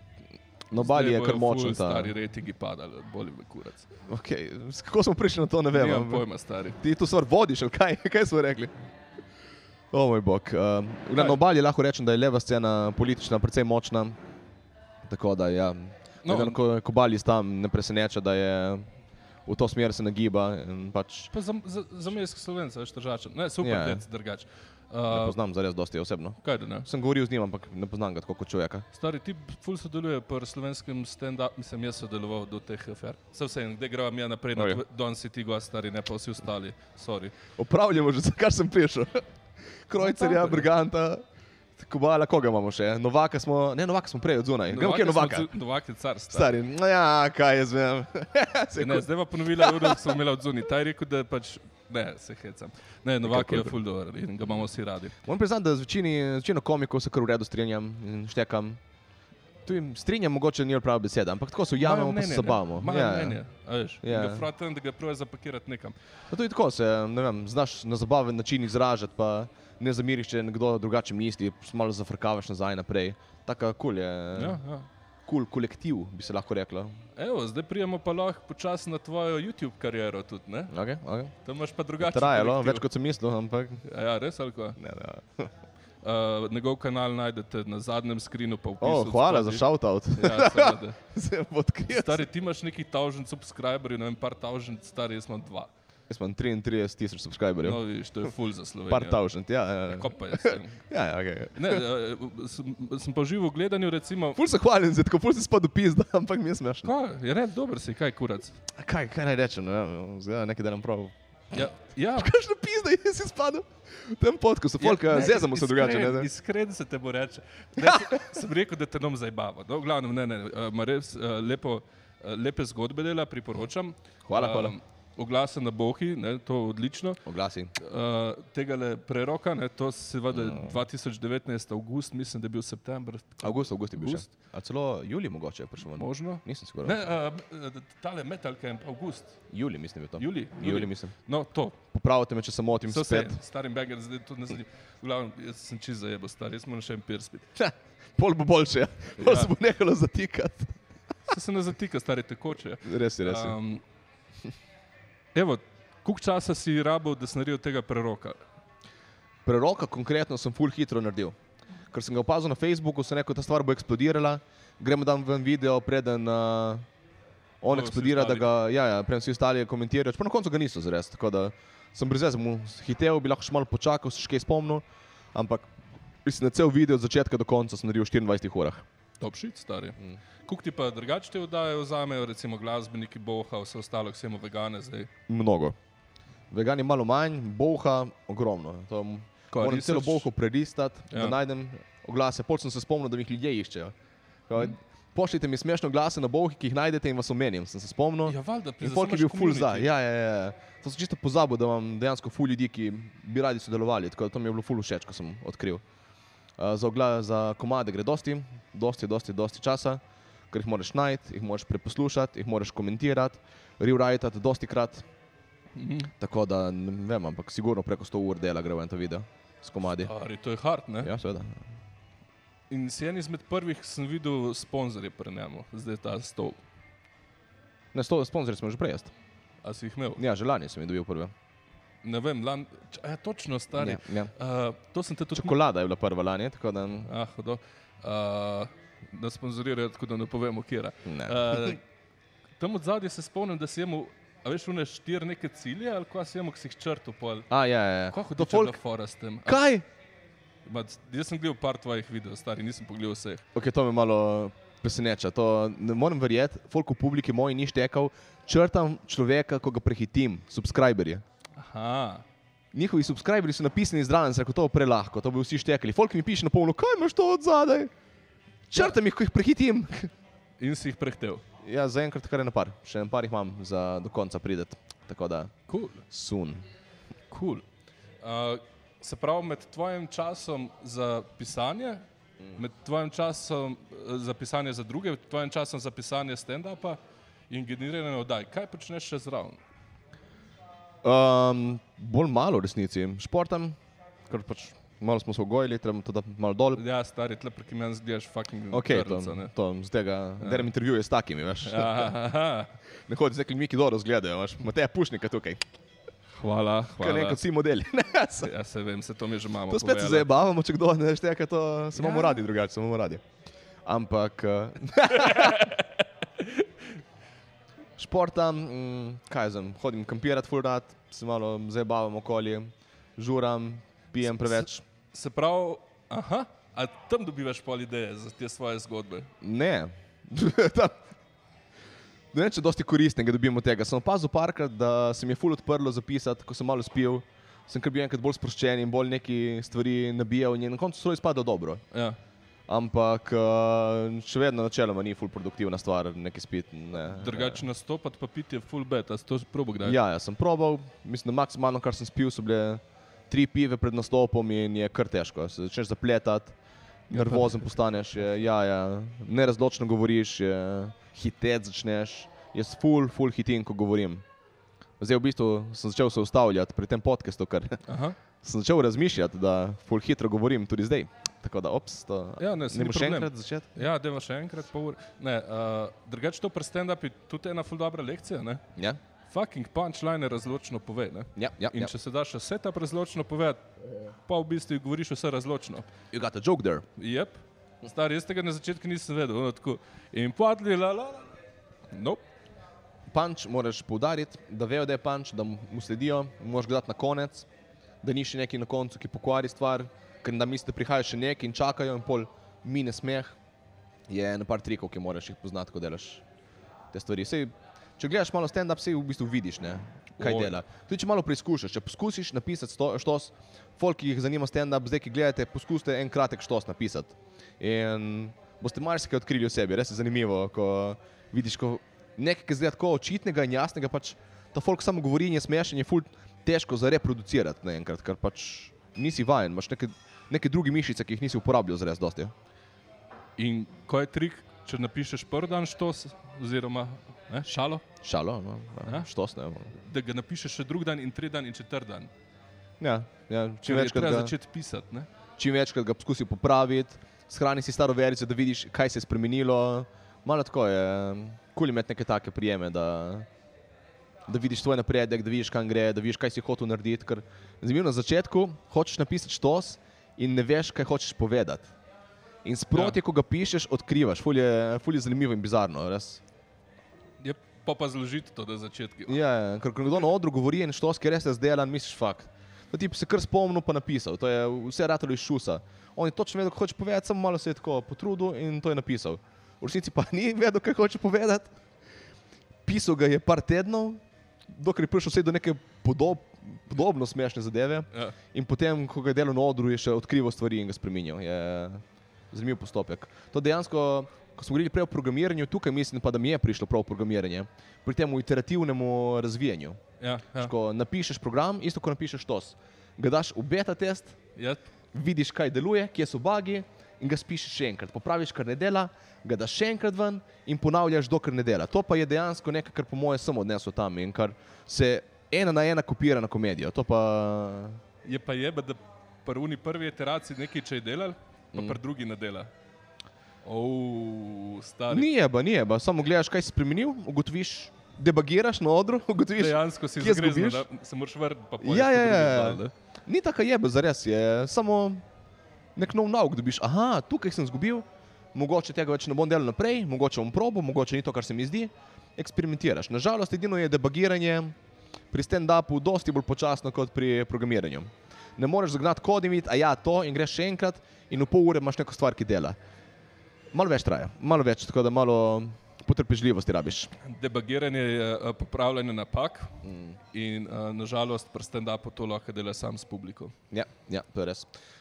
S2: na obali No, je
S1: Zdaj
S2: kar
S1: bojo ful
S2: močen ta.
S1: Stari rejtingi padali, bolj me kurac.
S2: Okay. Kako smo prišli na to, ne vem.
S1: Nemam
S2: ampak-
S1: pojma, stari.
S2: ti to stvar vodiš, ali kaj, kaj smo rekli? O moj bog. Um, na
S1: Kaj?
S2: obali lahko rečem, da je leva scena politična precej močna. Tako da, ja.
S1: No,
S2: No, ko, ko bali tam, ne preseneča, da je v to smer se nagiba. in Pač,
S1: Pa za, za, za mesk slovenca, veš, tržačen. Ne, super,
S2: Ja,
S1: yeah.
S2: ja.
S1: dec, drugač.
S2: ne
S1: Uh,
S2: poznam zares dosti osebno.
S1: kaj da ne?
S2: Sem govoril z njim, ampak ne poznam ga tako kot človeka.
S1: Stari ti ful sodeluje pri slovenskem stand-upu, mislim, jaz sodeloval do teh afer. Se vse en, kde gremo ja naprej,
S2: Okej.
S1: okay. danes si ti gost, stari, ne pa vsi ostali, sorry.
S2: Opravljamo že, kar sem prišel.
S1: No,
S2: Krojcerja,
S1: tako, ja.
S2: Briganta, Kobala, koga imamo še? Ja, Novaka smo, ne, Novaka smo prej od zunaj. Gremo, kje Eh, je Novaka?
S1: Novak je car, stari.
S2: Stari, no ja, kaj jaz vem. Se
S1: Ne, zdaj pa ponovila uro, ki sem imela od zunaj. Ta je rekel, da pač, ne, se hecam. Ne, Novak je
S2: Nikakor.
S1: ful dober in ga imamo vsi radi.
S2: Moram priznati, da z večini, z večino komikov se kar v redu strinjam in štekam. Tu jim strinjam, mogoče ni prava beseda, ampak tako se
S1: Imajo
S2: ujamemo, Ja, pa
S1: mnenje,
S2: se
S1: ne.
S2: zabavamo.
S1: Imajo
S2: Ja, ja.
S1: mnenje, a veš.
S2: Ja.
S1: Ja. Froten, da ga proje zapakirati nekam.
S2: Pa tudi tako se, ne vem, znaš na zabaven način izražati, pa ne zamiriš, če nekdo drugače misli, malo zafrkavaš nazaj naprej. Taka kul je, kul
S1: Ja, ja.
S2: cool kolektiv bi se lahko reklo.
S1: Evo, zdaj prijemo pa lahko počasi na tvojo YouTube kariero tudi, ne?
S2: Okay, okay.
S1: Tam imaš pa drugače.
S2: Trajalo, več kot sem mislil, ampak
S1: Ja, res ali kaj?
S2: ne, ne.
S1: Uh, njegov kanal najdete na zadnjem skrinu. pa v
S2: O,
S1: opisu
S2: hvala za
S1: spodaj.
S2: shoutout.
S1: Ja, seveda.
S2: se bo odkril.
S1: Stari, ti imaš neki tavžen subscriberjev, ne vem, par tavžen, stari, jaz imam dva.
S2: Jaz imam 33 tisoč subscriberjev.
S1: No, vidiš, to je full za Slovenijo.
S2: Ja. Par tavžent, ja. ja, ja.
S1: Ko pa jaz. sem?
S2: ja, ja okay.
S1: Ne, eh, sem, sem pa živo v gledanju, recimo.
S2: Ful se hvalim, zdaj tako ful se spadu pizda, ampak mi je smešno.
S1: Kaj, je res dober si, kaj kurac.
S2: Kaj, kaj naj rečem, ne vem, zgledaj nekaj, da nam prav.
S1: Ja, ja.
S2: Kakšno pizda je si spadu? Tem potku so folk, eh,
S1: Ja, ne,
S2: zezamo se drugače, ne? Ja.
S1: iskren-
S2: da-
S1: Iskren se te bo reče. Ne, se- sem rekel, da te nam zabava. No, v glavnem, ne, ne, eh, ima res eh, lepo, eh, lepe zgodbe dela, priporočam.
S2: Hvala, hvala.
S1: Um, Oglase na Bohi, ne, to je odlično.
S2: Oglasi.
S1: Uh, tega le preroka, ne, to se vede
S2: Mm.
S1: 2019, avgust, mislim, da je bil september,
S2: August, avgust je bil še.
S1: Avgust.
S2: A celo julij mogoče je prišel ven.
S1: možno.
S2: Nisem
S1: Ne,
S2: siguran.
S1: uh, tale metal camp, avgust,
S2: Julij mislim je bil to.
S1: juli.
S2: Julij mislim.
S1: No, to,
S2: Popravite me, če se motim
S1: se vse,
S2: spet.
S1: starim banger, zdaj to ne zanima. V glavnem, jaz sem čist zajebo, star, jaz moram še en pier spiti.
S2: Ha, Pol bo boljše, ja. pol
S1: Ja.
S2: se bo nehalo zatikati.
S1: Se se ne zatika, stari tekoče. ja.
S2: Res je, res je.
S1: Um, evo, koliko časa si rabo, da si naredil tega preroka?
S2: Preroka konkretno sem full hitro naredil. Ker sem ga opazil na Facebooku, sem rekel, ta stvar bo eksplodirala, gremo dan ven video, preden uh, on
S1: Bodo vsi
S2: eksplodira, da
S1: ostali.
S2: ga, ja, ja, preden vsi ostali komentirajo. Čeprav na koncu ga niso zres, tako da sem brez veze mu hitel, bi lahko še malo počakal, se še kaj spomnil, ampak mislim, da cel video od začetka do konca sem naredil v 24 urah.
S1: Top shit, stari. Mm. Kuk ti pa drugače te vdaje vzamejo, recimo glasbeniki, boha, vse ostalo, ki se jim vegane zdaj.
S2: Mnogo. Vegani malo manj, boha ogromno. To, m-
S1: Kaj,
S2: moram
S1: research?
S2: celo boho preristati, ja.
S1: Ja.
S2: da najdem oglase. Pol sem se spomnil, da jih ljudje iščejo. Kaj, Pošljite mi smešne oglase na bohi, ki jih najdete in vas omenim. Sem se spomnil.
S1: Ja, valjda, pri
S2: In folk je bil ful za. Ja, ja, ja. To sem čisto pozabil, da imam dejansko ful ljudi, ki bi radi sodelovali. Tako da to mi je bilo ful všeč, ko sem odkril. Uh, za, ogla, za komade gre dosti, dosti, dosti, dosti časa, ker jih moraš najti, jih moraš preposlušati, jih moraš komentirati, rewritati dosti krat.
S1: Mhm.
S2: Tako da ne vem, ampak sigurno preko 100 ur dela gre v en ta video s komadi.
S1: Stari, to je hard, ne? Ja.
S2: Ja, seveda.
S1: In si en izmed prvih sem videl sponzorje pri njemu, zdaj ta stol.
S2: Ne, sto sponzorjev smo že prej. jaz.
S1: A si jih imel?
S2: Ja, že lani sem jih dobil prve.
S1: Ne vem, lan... Č, a, ja, točno, stari.
S2: Ja,
S1: Ja.
S2: ja.
S1: Uh, to sem te tudi
S2: Čokolada je bila prva lani, tako da
S1: Ah, hodo. Uh, da sponzorirajo, tako da ne povemo, kje je.
S2: ne.
S1: Uh, tam od zadaj se spomnim, da si imel, a veš, une štiri neke cilje, ali kaj si imel, ki si jih črtu pol.
S2: A, ja, ja, ja.
S1: Kaj hodi
S2: To
S1: to folk?
S2: folk-
S1: Fora s tem. A,
S2: Kaj?
S1: ma, jaz sem gledal par tvojih videov, stari, nisem pogledal vseh.
S2: Ok, to me malo preseneča. To ne morem verjeti, folk v publiki moj ni štekal. Črtam človeka, ko ga prehitim, subscriberje.
S1: Aha.
S2: Njihovi subscriberji so napisani zraven, se reko, to je prelahko, to bi vsi štekali. Folk mi piše na polno, kaj imaš to od zadaj? Črtam jih, ko jih prehitim.
S1: In si jih prehtel.
S2: Ja, zaenkrat kar je na par, še en par jih imam za do konca prideti. Tako da,
S1: Cool.
S2: sun.
S1: Cool. Uh, se pravi, med tvojim časom za pisanje,
S2: Mm.
S1: med tvojim časom eh, za pisanje za druge, med tvojim časom za pisanje stand-upa in generiranje oddaj, kaj počneš še zraven?
S2: Um, bolj malo v resnici, športam, ker pač malo smo se ogojili, treba to dati malo dol.
S1: Ja, stari, tle prek imen zdiš fucking
S2: Okay, to,
S1: črnica, ne?
S2: to, z tega, ja. delam intervjuje s takimi, veš.
S1: Ja, aha.
S2: Ne hodi z nekimi, ki dobro izgledajo, imaš Mateja Pušnika tukaj,
S1: Hvala,
S2: kot
S1: hvala.
S2: nekdo vsi modeli. Ne, se-
S1: Ja, se vem, se to mi že imamo.
S2: to spet se
S1: povedala.
S2: zabavamo, če kdo ne šteje, kaj to se imamo
S1: Ja.
S2: ja. radi drugače, se imamo radi. Ampak eh, športam, mm, kaj sem, hodim kampirati furrat, se malo zabavam okoli, žuram, pijem preveč.
S1: Se pravi, aha, a tam dobivaš pol ideje za te svoje zgodbe.
S2: Ne. Ta- Ne vem, če dosti koristnega dobimo tega. Sem opazil parkrat, da se mi je ful odprlo zapisati, ko sem malo spil, sem kar bil enkrat bolj sproščen in bolj neki stvari nabijal in je na koncu to izpadlo dobro.
S1: Ja.
S2: Ampak eh, še vedno načeloma ni ful produktivna stvar, neki spit. Ne.
S1: Drugače nastopati pa piti je full bet, a si to že probo kdaj?
S2: Ja, ja, sem probal, mislim, da maksimalno, kar sem spil, so bile tri pive pred nastopom in je kar težko. Se začneš zapletati, nervozen postaneš, je, ja, ja, nerazločno govoriš, je, hitec začneš. Jaz full, full hitim, ko govorim. Zdaj v bistvu sem začel se ustavljati pri tem podkastu, ker
S1: Aha.
S2: sem začel razmišljati, da full hitro govorim tudi zdaj. Tako da, ops, to
S1: Ja, ne, saj ni
S2: moreš še
S1: problem.
S2: enkrat začeti.
S1: Ja, deva še enkrat pol ure. Ne, uh, drugače to pri stand-upu je tudi ena ful dobra lekcija, ne?
S2: Ja,
S1: Fucking punchline razločno pove, ne?
S2: ja, ja.
S1: In
S2: ja.
S1: če se daš vse ta razločno povedati, pa v bistvu govoriš vse razločno.
S2: You got a joke there.
S1: Jep, star, jaz tega na začetku nisem vedel, ono tako. In padli, la, la, la. Nope.
S2: Punč moraš poudariti, da vejo, da je punč, da mu sledijo, moraš ga dati na konec, da ni še nekaj na koncu, ki pokvari stvar, ker da misli, da prihaja še nekaj in čakajo, in pol mine smeh. Je na par trikov, ki moraš jih poznati, ko delaš te stvari. Sej, če gledaš malo stand-up, se v bistvu vidiš, ne,
S1: Oj.
S2: kaj Oj. dela. Tudi če malo preizkušaš, če poskusiš napisati sto, štos, folk, ki jih zanima stand-up, zdaj ki gledate, poskusite en kratek štos napisati. In boste marsikaj odkrili o sebi, res je zanimivo, ko vidiš ko nekaj, ki zgleda tako očitnega in jasnega, pač ta folk samo govori in je smešen, je ful težko za reproducirati naenkrat, ker pač nisi vajen, imaš neke, neke druge mišice, ki jih nisi uporabljal zres dosti. ja.
S1: In ko je trik, če napišeš prvi dan štos, oziroma ne, šalo,
S2: Šalo, no,
S1: Ja.
S2: ja. štos ne.
S1: da ga napišeš še drugi dan in tretji dan in četrti dan.
S2: Ja, ja,
S1: Če
S2: čim
S1: veš, Torej,
S2: večkrat
S1: treba
S2: ga...
S1: ga... začeti pisati, ne?
S2: čim večkrat ga poskusi popraviti, shrani si staro verico, da vidiš, kaj se je spremenilo. Malo tako je, kul cool je imeti neke take prijeme, da da vidiš tvoj napredek, da vidiš, kam gre, da vidiš, kaj si hotel narediti. Ker zanimivo, na začetku hočeš napisati štos in ne veš, kaj hočeš povedati. In sproti,
S1: Ja.
S2: ja. ko ga pišeš, odkrivaš. Ful je, ful je zanimivo in bizarno. Res.
S1: Je pa pa zložiti to na začetku.
S2: Ja, ja, ker ko nekdo na odru govori in štos, ki res je zdelan, misliš fakt. To ti se kar spomnil, pa napisal. To je vse ratalo iz šusa. On je točno vedel, kaj hoče povedati, samo malo se je tako potrudil in to je napisal. V resnici pa ni vedel, kaj hoče povedati. Pisal ga je par tednov, dokler je prišel vse do neke podob, podobno smešne zadeve.
S1: Ja.
S2: In potem, ko ga je delal na odru, je še odkrival stvari in ga spremenil. Je zanimiv postopek. To dejansko, ko smo govorili prej o programiranju, tukaj mislim pa, da mi je prišlo prav programiranje, pri tem iterativnemu razvijanju.
S1: Ja, ja.
S2: Ja. Ko napišeš program, isto kot napišeš tos, ga daš v beta test,
S1: Ja,
S2: vidiš, kaj deluje, kje so bagi in ga spišeš še enkrat. Popraviš, kar ne dela, ga daš še enkrat ven in ponavljaš, dokler ne dela. To pa je dejansko nekaj, kar po mojem sem odnesel tam in kar se ena na ena kopira na komedijo. To pa
S1: je pa je, da prvni prvi iteraciji nekaj, če je delal, pa mm. pri drugi ne dela. Oh, stari.
S2: Ni jeba, ni jeba, samo gledaš, kaj si spremenil, ugotoviš, debagiraš na odru, ugotoviš.
S1: Dejansko si
S2: kje
S1: zgrezen,
S2: zgubiš?
S1: da se moraš vrniti. pa poješ
S2: Ja,
S1: po
S2: ja,
S1: drugi
S2: ja.
S1: dol, ne.
S2: Ni tako jeba, zares je, samo nek nov nauk dobiš. Aha, tukaj sem zgubil, mogoče tega več ne bom delal naprej, mogoče bom probo, mogoče ni to, kar se mi zdi. Eksperimentiraš. Nažalost, edino je debagiranje pri stand-upu dosti bolj počasno kot pri programiranju. Ne moreš zagnati kod in videti, a ja, to in greš še enkrat in v pol ure imaš neko stvar, ki dela. Malo več traja, malo več, tako da malo potrpežljivosti rabiš.
S1: Debagiranje je eh, popravljanje napak mm. in eh, nažalost pri stand-upu to lahko dela sam s publiko.
S2: Ja, ja, to je res.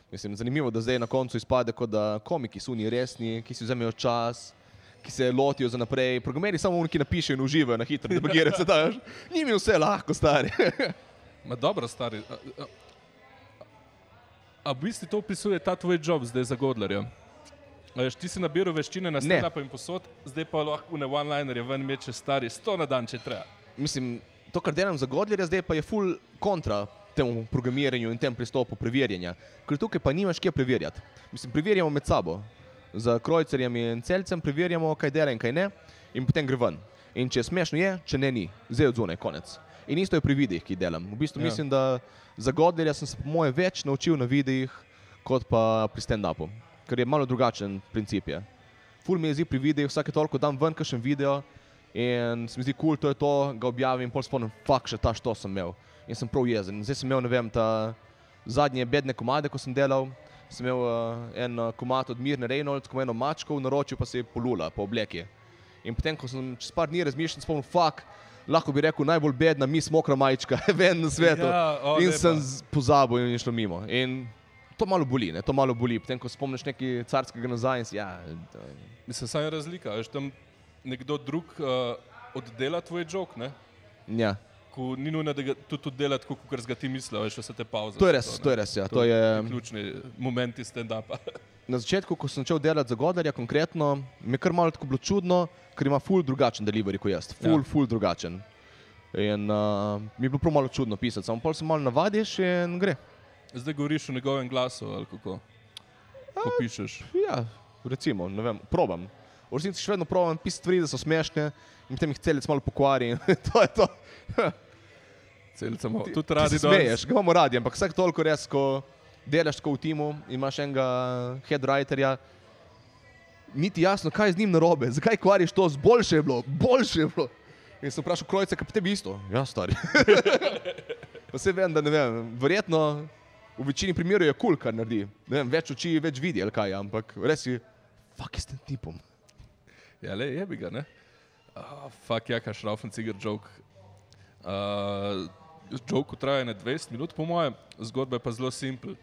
S2: Mislim, zanimivo, da zdaj na koncu izpade, kot da komiki so oni resni, ki si vzamejo čas, ki se lotijo za naprej. Programeri samo oni, ki napišejo in uživajo na hitro, da bagirajo se daš. Njim je vse lahko, stari.
S1: Ma dobro, stari. A, a, a v bistvu to opisuje ta tvoj job zdaj za Godlerja. A Veš, ti si nabiral veščine na
S2: Ne.
S1: stand-upu in posod, zdaj pa lahko na one-linerje ven meče stari 100 na dan, če treba.
S2: Mislim, to, kar delam za godljerja, zdaj pa je full kontra temu programiranju in tem pristopu preverjanja. Ker tukaj pa nimaš kje preverjati. Mislim, preverjamo med sabo. Za krojcerjem in celcem preverjamo, kaj dela in kaj ne, in potem gre ven. In če je smešno je, če ne ni, zdaj odzune, konec. In isto je pri videih, ki jih delam. V bistvu
S1: Ja.
S2: ja. mislim, da za godljerja sem se po moje več naučil na videih, kot pa pri stand-upu, ker je malo drugačen princip. Je. Ful mi je zdi pri videih, vsake toliko dam ven, kakšen video in se mi zdi kul, cool, to je to, ga objavim in pol spomnim, fakt še ta što sem imel. In sem prav jezen. Zdaj sem imel, ne vem, ta zadnje bedne komade, ko sem delal, sem imel uh, en uh, komad od Mirne Reynolds, ko ima eno mačko v naročju, pa se je polula po obleki. In potem, ko sem čez par dni razmišljal, sem spomnil, fakt, lahko bi rekel najbolj bedna, mi smo mokra majčka, ven na svetu.
S1: Ja, o,
S2: in
S1: lepa.
S2: sem z- pozabil in je šlo mimo. In to malo boli, ne? to malo boli. Potem, ko spomniš nekaj carskega nazaj, in si, ja, da-
S1: Mislim, saj je razlika. a Veš, tam nekdo drug uh, oddela tvoj jok, ne?
S2: ja.
S1: Ko ni nujno, da ga tudi oddela tako, kot ga ti misli, a veš, vse te pauze.
S2: To
S1: so
S2: je res,
S1: ne.
S2: to je res, ja. To je,
S1: ključni momenti stand-upa.
S2: na začetku, ko sem začel delati za Godarja, konkretno, mi je kar malo tako bilo čudno, ker ima ful drugačen delivery kot jaz. Ful,
S1: Ja.
S2: ja. ful drugačen. In uh, mi je bilo prav malo čudno pisati, samo pol se malo navadiš in gre.
S1: Zdaj govoriš v njegovem glasu ali kako? Ko pišeš.
S2: Ja, recimo, ne vem, probam. V resnici še vedno probam pisati stvari, da so smešne in potem jih celic malo pokvari. in to je to.
S1: Celica ima tudi
S2: Ti
S1: radi
S2: se smeješ, ga imamo radi, ampak vsak toliko res, ko delaš tako v timu, imaš enega headwriterja, niti jasno, kaj je z njim narobe, zakaj kvariš to, Z boljše je bilo, boljše je bilo. In sem vprašal krojce, kaj pa tebi isto. Ja, stari. pa se vem, da ne vem, verjetno v večini primerov je kul, cool, kar naredi. Ne vem, več oči, več vidi, ali kaj, ampak res je, fuck je s tem tipom.
S1: Ja, le, je bi ga, ne? Oh, fuck, jaka šraufen cigar joke. Uh, joke traja ne 20 minut, po mojem, zgodba je pa zelo simpel.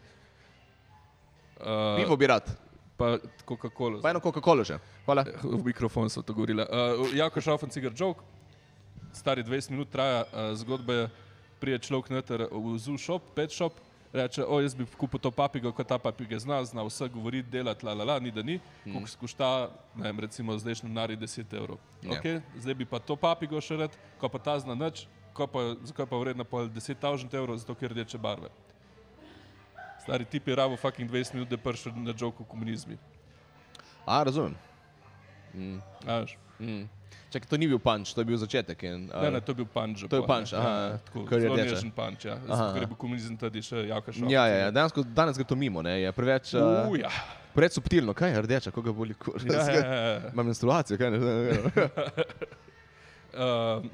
S1: Uh,
S2: Pivo bi rad,
S1: pa Coca-Cola.
S2: pa eno Coca-Cola že. Hvala.
S1: V mikrofon so to govorila. Uh, jako šraufen cigar joke, stari 20 minut traja uh, zgodba. je, Prije človek noter v zoo shop, pet shop, reče: O, jaz bi kupil to papigo, kot ta papiga zna, zna vse govoriti, delati, la la la, ni da ni, mm. koliko skušta, ne vem, recimo zdajšnji denarji 10 evrov.
S2: Ja.
S1: Okay, zdaj bi pa to papigo še rad, ko pa ta zna nič, ko pa, zakaj pa vredna pol 10 tavžent evrov, zato ker je rdeče barve. Stari tip je ravo fucking 20 minut, da je prišel na joke o komunizmi.
S2: A, razumem.
S1: a veš.
S2: Mm. Čak, to ni bil punč, to je bil začetek. In,
S1: Ne, ne, to je bil panč.
S2: To je punch, aha, kar je
S1: Ja, Zelo
S2: rdeče.
S1: nežen panč, ja.
S2: Aha.
S1: Zato, ker je bil komunizem tudi še jaka šola.
S2: ja, ja, ja, dejansko danes gre to mimo, ne, je preveč, uh,
S1: Uja.
S2: preveč subtilno, kaj je rdeča, koga boli kurva.
S1: Ja, ja, ja, ja.
S2: Imam menstruacijo, kaj ne.
S1: Um,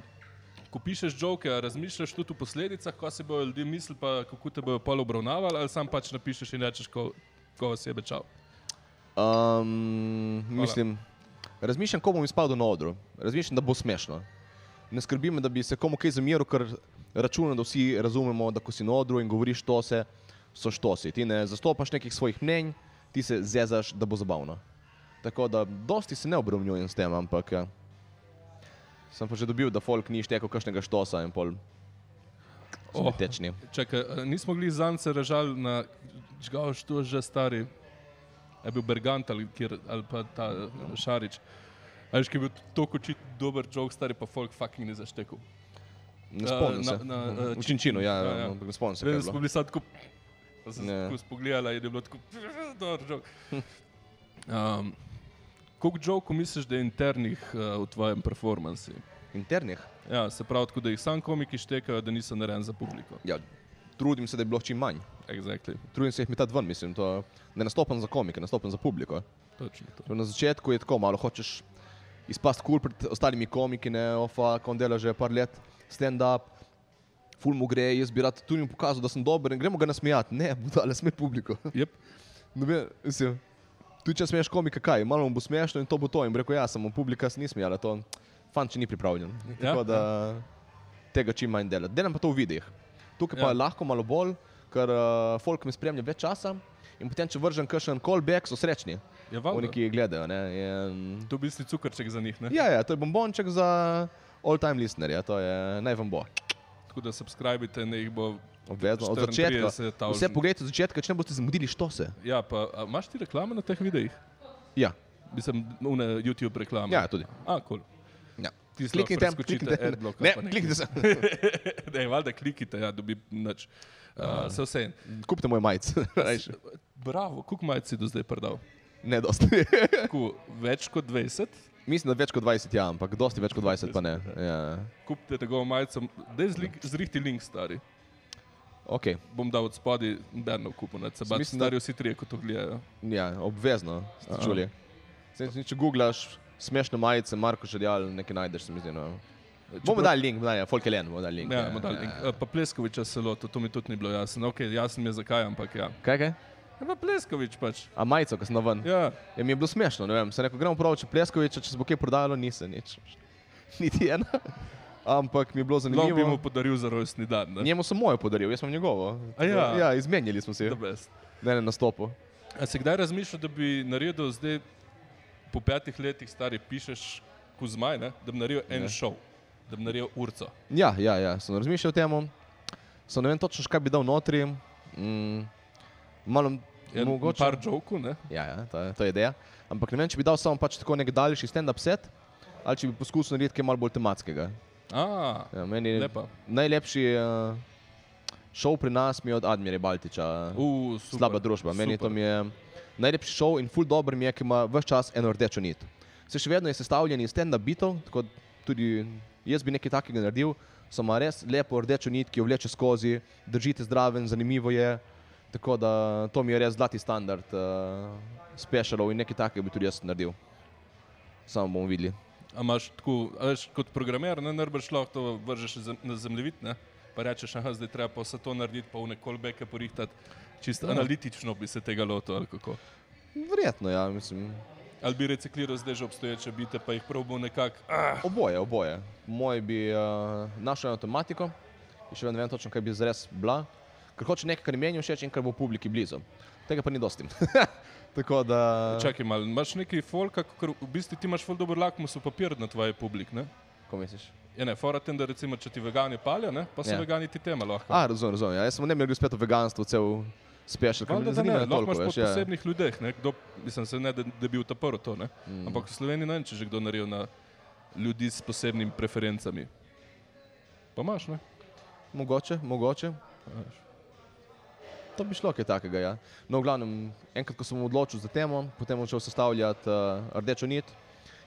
S1: Ko pišeš žoke, razmišljaš tudi o posledicah, ko se bodo ljudje mislili, pa kako te bodo pol obravnavali, ali sam pač napišeš in rečeš, ko, ko vas je bečal.
S2: Um, mislim, razmišljam, ko bom izpadel na odru, razmišljam, da bo smešno. Ne skrbi me, da bi se komu kaj zameril, ker računam, da vsi razumemo, da ko si na odru in govoriš to se, so štosi. Ti ne zastopaš nekih svojih mnenj, ti se zezaš, da bo zabavno. Tako da dosti se ne obremenjujem s tem, ampak ja. sem pa že dobil, da folk ni štekel kakšnega štosa in pol.
S1: Oh.
S2: Oh. Tečni.
S1: Čakaj, a nismo mogli zance režali na žgal, što že stari. Je bil Bergant ali, kjer, ali pa ta eh, Šarič. Ali je bil tako očit dober žog, stari pa folk fucking ne zaštekal.
S2: Ne
S1: Eh,
S2: spomnim
S1: na-
S2: se.
S1: na, eh,
S2: V činčinu, ja,
S1: ja,
S2: ja,
S1: ja.
S2: ja. ne spomnim se. kaj je
S1: Vem,
S2: bilo.
S1: smo bili sad tako, pa sem
S2: Ne.
S1: se tako spogledala in je bilo tako, dobro, žog. Um, Koliko žogov misliš, da je internih uh, v tvojem performansi?
S2: Internih.
S1: Ja, se pravi, tako, da jih sam komiki štekajo, da niso narejen za publiko.
S2: Ja, trudim se, da je bilo čim manj.
S1: Exactly.
S2: Trudim se jih metati ven, mislim, to ne nastopam za komike, nastopam za publiko.
S1: Točno to.
S2: To Na začetku je tako, malo hočeš izpasti kul cool pred ostalimi komiki, ne, ofa, on dela že par let, stand-up, ful mu gre, jaz bi rad tudi jim pokazal, da sem dober in gremo ga nasmejati. Ne, budale sme publiko.
S1: Yep.
S2: Noben, No, mislim, tudi če smeješ komika, kaj, malo mu bo smešno in to bo to. In bi rekel, ja, samo publika se ni smejala, to fanče ni pripravljen.
S1: Ja,
S2: Ja, tako da tega čim manj delam. Delam pa to v videih. Tukaj pa
S1: Ja.
S2: ja. lahko malo bolj, ker uh, folk me spremlja več časa in potem, če vržem kakšen callback, so srečni.
S1: Ja, valjda.
S2: Oni, ki gledajo. Ne, in,
S1: To je v bistvu cukrček za njih. ne?
S2: ja, ja, to je bombonček za all-time listenerje, ja, to je naj vam bo.
S1: Tako da subskrbite, ne jih bo.
S2: Obvezno, od začetka.
S1: 34 tavžent.
S2: Vse pogledajte od začetka, če ne boste zamudili, što se.
S1: Ja, pa a imaš ti reklame na teh videih?
S2: Ja,
S1: Mislim, na YouTube reklame.
S2: ja tudi.
S1: A, kul. Cool.
S2: Ja.
S1: Ti si
S2: Kliknite,
S1: lahko preskočite
S2: kliknite,
S1: adblock ali
S2: ne,
S1: pa nekaj.
S2: kliknite se.
S1: ne, valjda klikite, ja, dobi nič.
S2: Ah.
S1: Uh, se vse.
S2: Kupite moj majico. rajši.
S1: Bravo, koliko majc si do zdaj prodal?
S2: ne, dosti.
S1: Tako, več kot 20.
S2: Mislim, da več kot 20, ja, ampak dosti več kot 20 pa ne. Ja.
S1: Kupite tako majico, da je zrihti link stari.
S2: Okay.
S1: Bom dal od spodaj, da ne kupim, da se bati
S2: Mislim, da-
S1: stari vsi trije, ko to gledajo.
S2: Ja, obvezno ste
S1: Aha.
S2: čuli. Sem, če- če googlaš smešne majice, Marko Žerjal, nekaj najdeš, se mi zdi. No. Bomo dali link, da je Folkelen, bomo dali link.
S1: Ja, bomo dali link. Eh, Pa Pleskoviča se loto, to mi tudi ni bilo jasno. Ok, jasno mi je zakaj, ampak ja.
S2: Kaj, kaj?
S1: Ja, pa Pleskovič pač.
S2: A majico, ko sem na ven. Ja.
S1: Ja.
S2: Ja, mi je bilo smešno, ne vem. Sem rekel, gremo prav, če Pleskoviča, če se bo kaj prodajalo, nisem nič. Niti ena. Ampak mi je bilo
S1: Lahko bi mu
S2: zanimivo.
S1: podaril za rojstni dan. Ne?
S2: Njemu sem mojo podaril, jaz sem njegovo.
S1: A ja.
S2: ja, izmenjali smo se.
S1: The best.
S2: Ne, ne, na stopu.
S1: A si kdaj razmišljal, da bi naredil zdaj, po petih letih stari, pišeš Kuzmaj, ne? da bi naredil en
S2: Ja.
S1: šov, da bi naredil urco.
S2: Ja, ja, ja, sem razmišljal o tem, sem ne vem točno, kaj bi dal notri. Mm, malo
S1: En
S2: mogoče.
S1: par žoku, ne?
S2: Ja, ja to, je- to je ideja. Ampak ne vem, če bi dal samo pač tako nek daljši stand-up set ali če bi poskusil narediti kaj malo bolj tematskega.
S1: A,
S2: Ja, meni je
S1: lepa.
S2: najlepši uh, šov pri nas mi je od Admira Baltiča.
S1: U, super,
S2: Slaba družba. Meni to mi je najlepši šov in ful dobr mi je, ki ima vse čas eno rdečo nit. Se še vedno je sestavljen iz stand-up bitov, tako da tudi jaz bi nekaj takega naredil, samo res lepo rdečo nit, ki jo vleče skozi, držite zdraven, zanimivo je. Tako da to mi je res zlati standard uh, specialov in nekaj takega bi tudi jaz naredil. Samo bomo videli.
S1: A imaš tako, a veš, kot programer, ne nerbiš lahko to vržeš zem- na zemljevid, ne? Pa rečeš, aha, zdaj treba pa vse to narediti, pa vne kolbeke porihtati. Čisto
S2: Ja.
S1: analitično bi se tega lotil, ali kako.
S2: Verjetno, ja, mislim.
S1: Ali bi recikliral zdaj že obstoječe bite, pa jih probo nekako. Ah,
S2: Oboje, oboje. Moj bi uh, našel eno tematiko, in še vedno ne vem točno, kaj bi zres bila, ker hoče nekaj, kar meni všeč in kar bo publiki blizu. Tega pa ni dosti. Tako da.
S1: Čakaj malo, imaš neki folka, ker v bistvu ti imaš ful dober lakmusov papir na tvoje publik, ne?
S2: Ko misliš?
S1: Ja, ne, fora tem, da recimo, če ti vegani palijo, ne, pa so ja.
S2: Ja.
S1: vegani ti tema lahko.
S2: A, razumem, razumem. Ja, jaz sem ne bi spet o veganstvu, cel spešal, ker
S1: Valjda, da
S2: me
S1: ne,
S2: zanima
S1: lahko
S2: toliko
S1: imaš po
S2: več. Ja.
S1: posebnih ljudeh, ne, kdo, mislim se ne, da, da bi utapil to, ne. Mm. Ampak v Sloveniji ne vem, če že kdo naredil na ljudi s posebnimi preferencami. Pa imaš, ne?
S2: Mogoče, mogoče.
S1: Imaš.
S2: To bi šlo kaj takega. Ja. No, v glavnem, enkrat, ko sem odločil za temo, potem sem začel sestavljati uh, eh, rdečo nit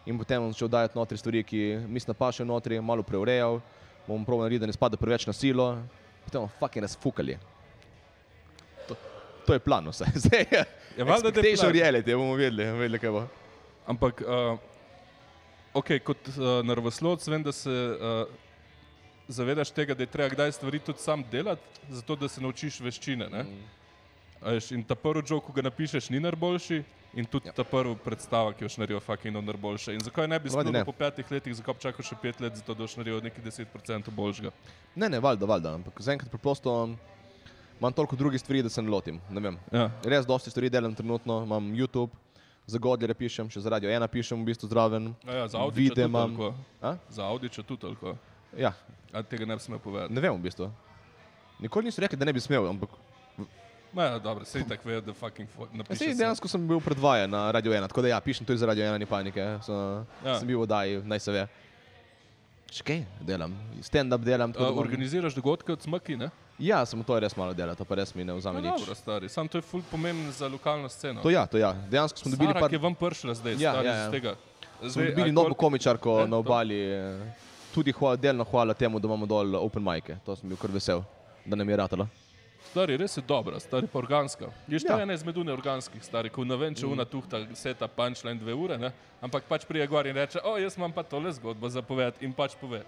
S2: in potem bom začel dajati notri stvari, ki mislim, da pašejo notri, malo preurejal, bom probal narediti, da ne spada preveč na silo, potem bomo fucking razfukali. To, to je plan vse. Zdaj je.
S1: Ja, valjda, da je
S2: Expectation
S1: plan.
S2: reality, bomo vedeli, vedeli kaj bo.
S1: Ampak, uh, okay, kot uh, naravoslovec, vem, da se uh, zavedaš tega, da je treba kdaj stvari tudi sam delati, zato da se naučiš veščine. Mm. Eš, in ta prvi žog, ko ga napišeš, ni najboljši, in tudi
S2: Ja.
S1: yep. ta prvi predstava, ki jo še naredijo, fucking ni najboljša. In zakaj ne bi
S2: Navadi
S1: sploh
S2: ne.
S1: po petih letih, zakaj bi čakal še pet let, zato da boš naredil nekaj 10% boljšega?
S2: Ne, ne, valjda, valjda, ampak zaenkrat preprosto imam toliko drugih stvari, da se ne lotim. Ne vem.
S1: Ja.
S2: Res dosti stvari delam trenutno, imam YouTube, za Godlere pišem, še za Radio 1 pišem v bistvu zraven.
S1: Ja, ja, za Audiča
S2: Vide
S1: tudi
S2: imam.
S1: toliko.
S2: A?
S1: Za Audiča tudi toliko.
S2: Ja,
S1: A tega ne bi smel povedati.
S2: ne vem v bistvu. Nikoli niso rekli, da ne bi smel, ampak
S1: Ma, ja, dobro, sej tako vejo, da fucking fo-
S2: Ja, sej,
S1: napišeš.
S2: dejansko sem bil predvajan na Radio 1, tako da ja, pišem tudi za Radio 1, ni panike. So, ja.
S1: Ja.
S2: Sem bil v oddaji, naj se ve. Še kaj delam, stand-up delam. tako da
S1: Uh,
S2: imam-
S1: organiziraš dogodke od smrti, ne?
S2: Ja, samo to je res malo dela, to pa res mi ne
S1: No,
S2: vzame nič.
S1: dobro, stari. Sam to je ful pomembno za lokalno sceno.
S2: To ja, to ja. Dejansko smo dobili
S1: Sara,
S2: par...
S1: ki je vam prišla zdaj,
S2: Ja,
S1: ja, stari, ja,
S2: ja, ja.
S1: ja. iz tega.
S2: Smo
S1: a
S2: dobili
S1: kol-
S2: novo komičarko
S1: Ne,
S2: na
S1: to.
S2: obali, eh, tudi hvala, delno hvala temu, da imamo dol open majke. To sem bil kar vesel, da nam je ratalo.
S1: Stari, res je dobra, stari pa organska. Je še
S2: Ja. Mm.
S1: ja. ena izmed uneorganskih, stari, ko ne vem, če una tuhta seta punchline dve ure, ne? ampak pač prije gor in reče, o, jaz imam pa tole zgodbo za povedati in pač pove.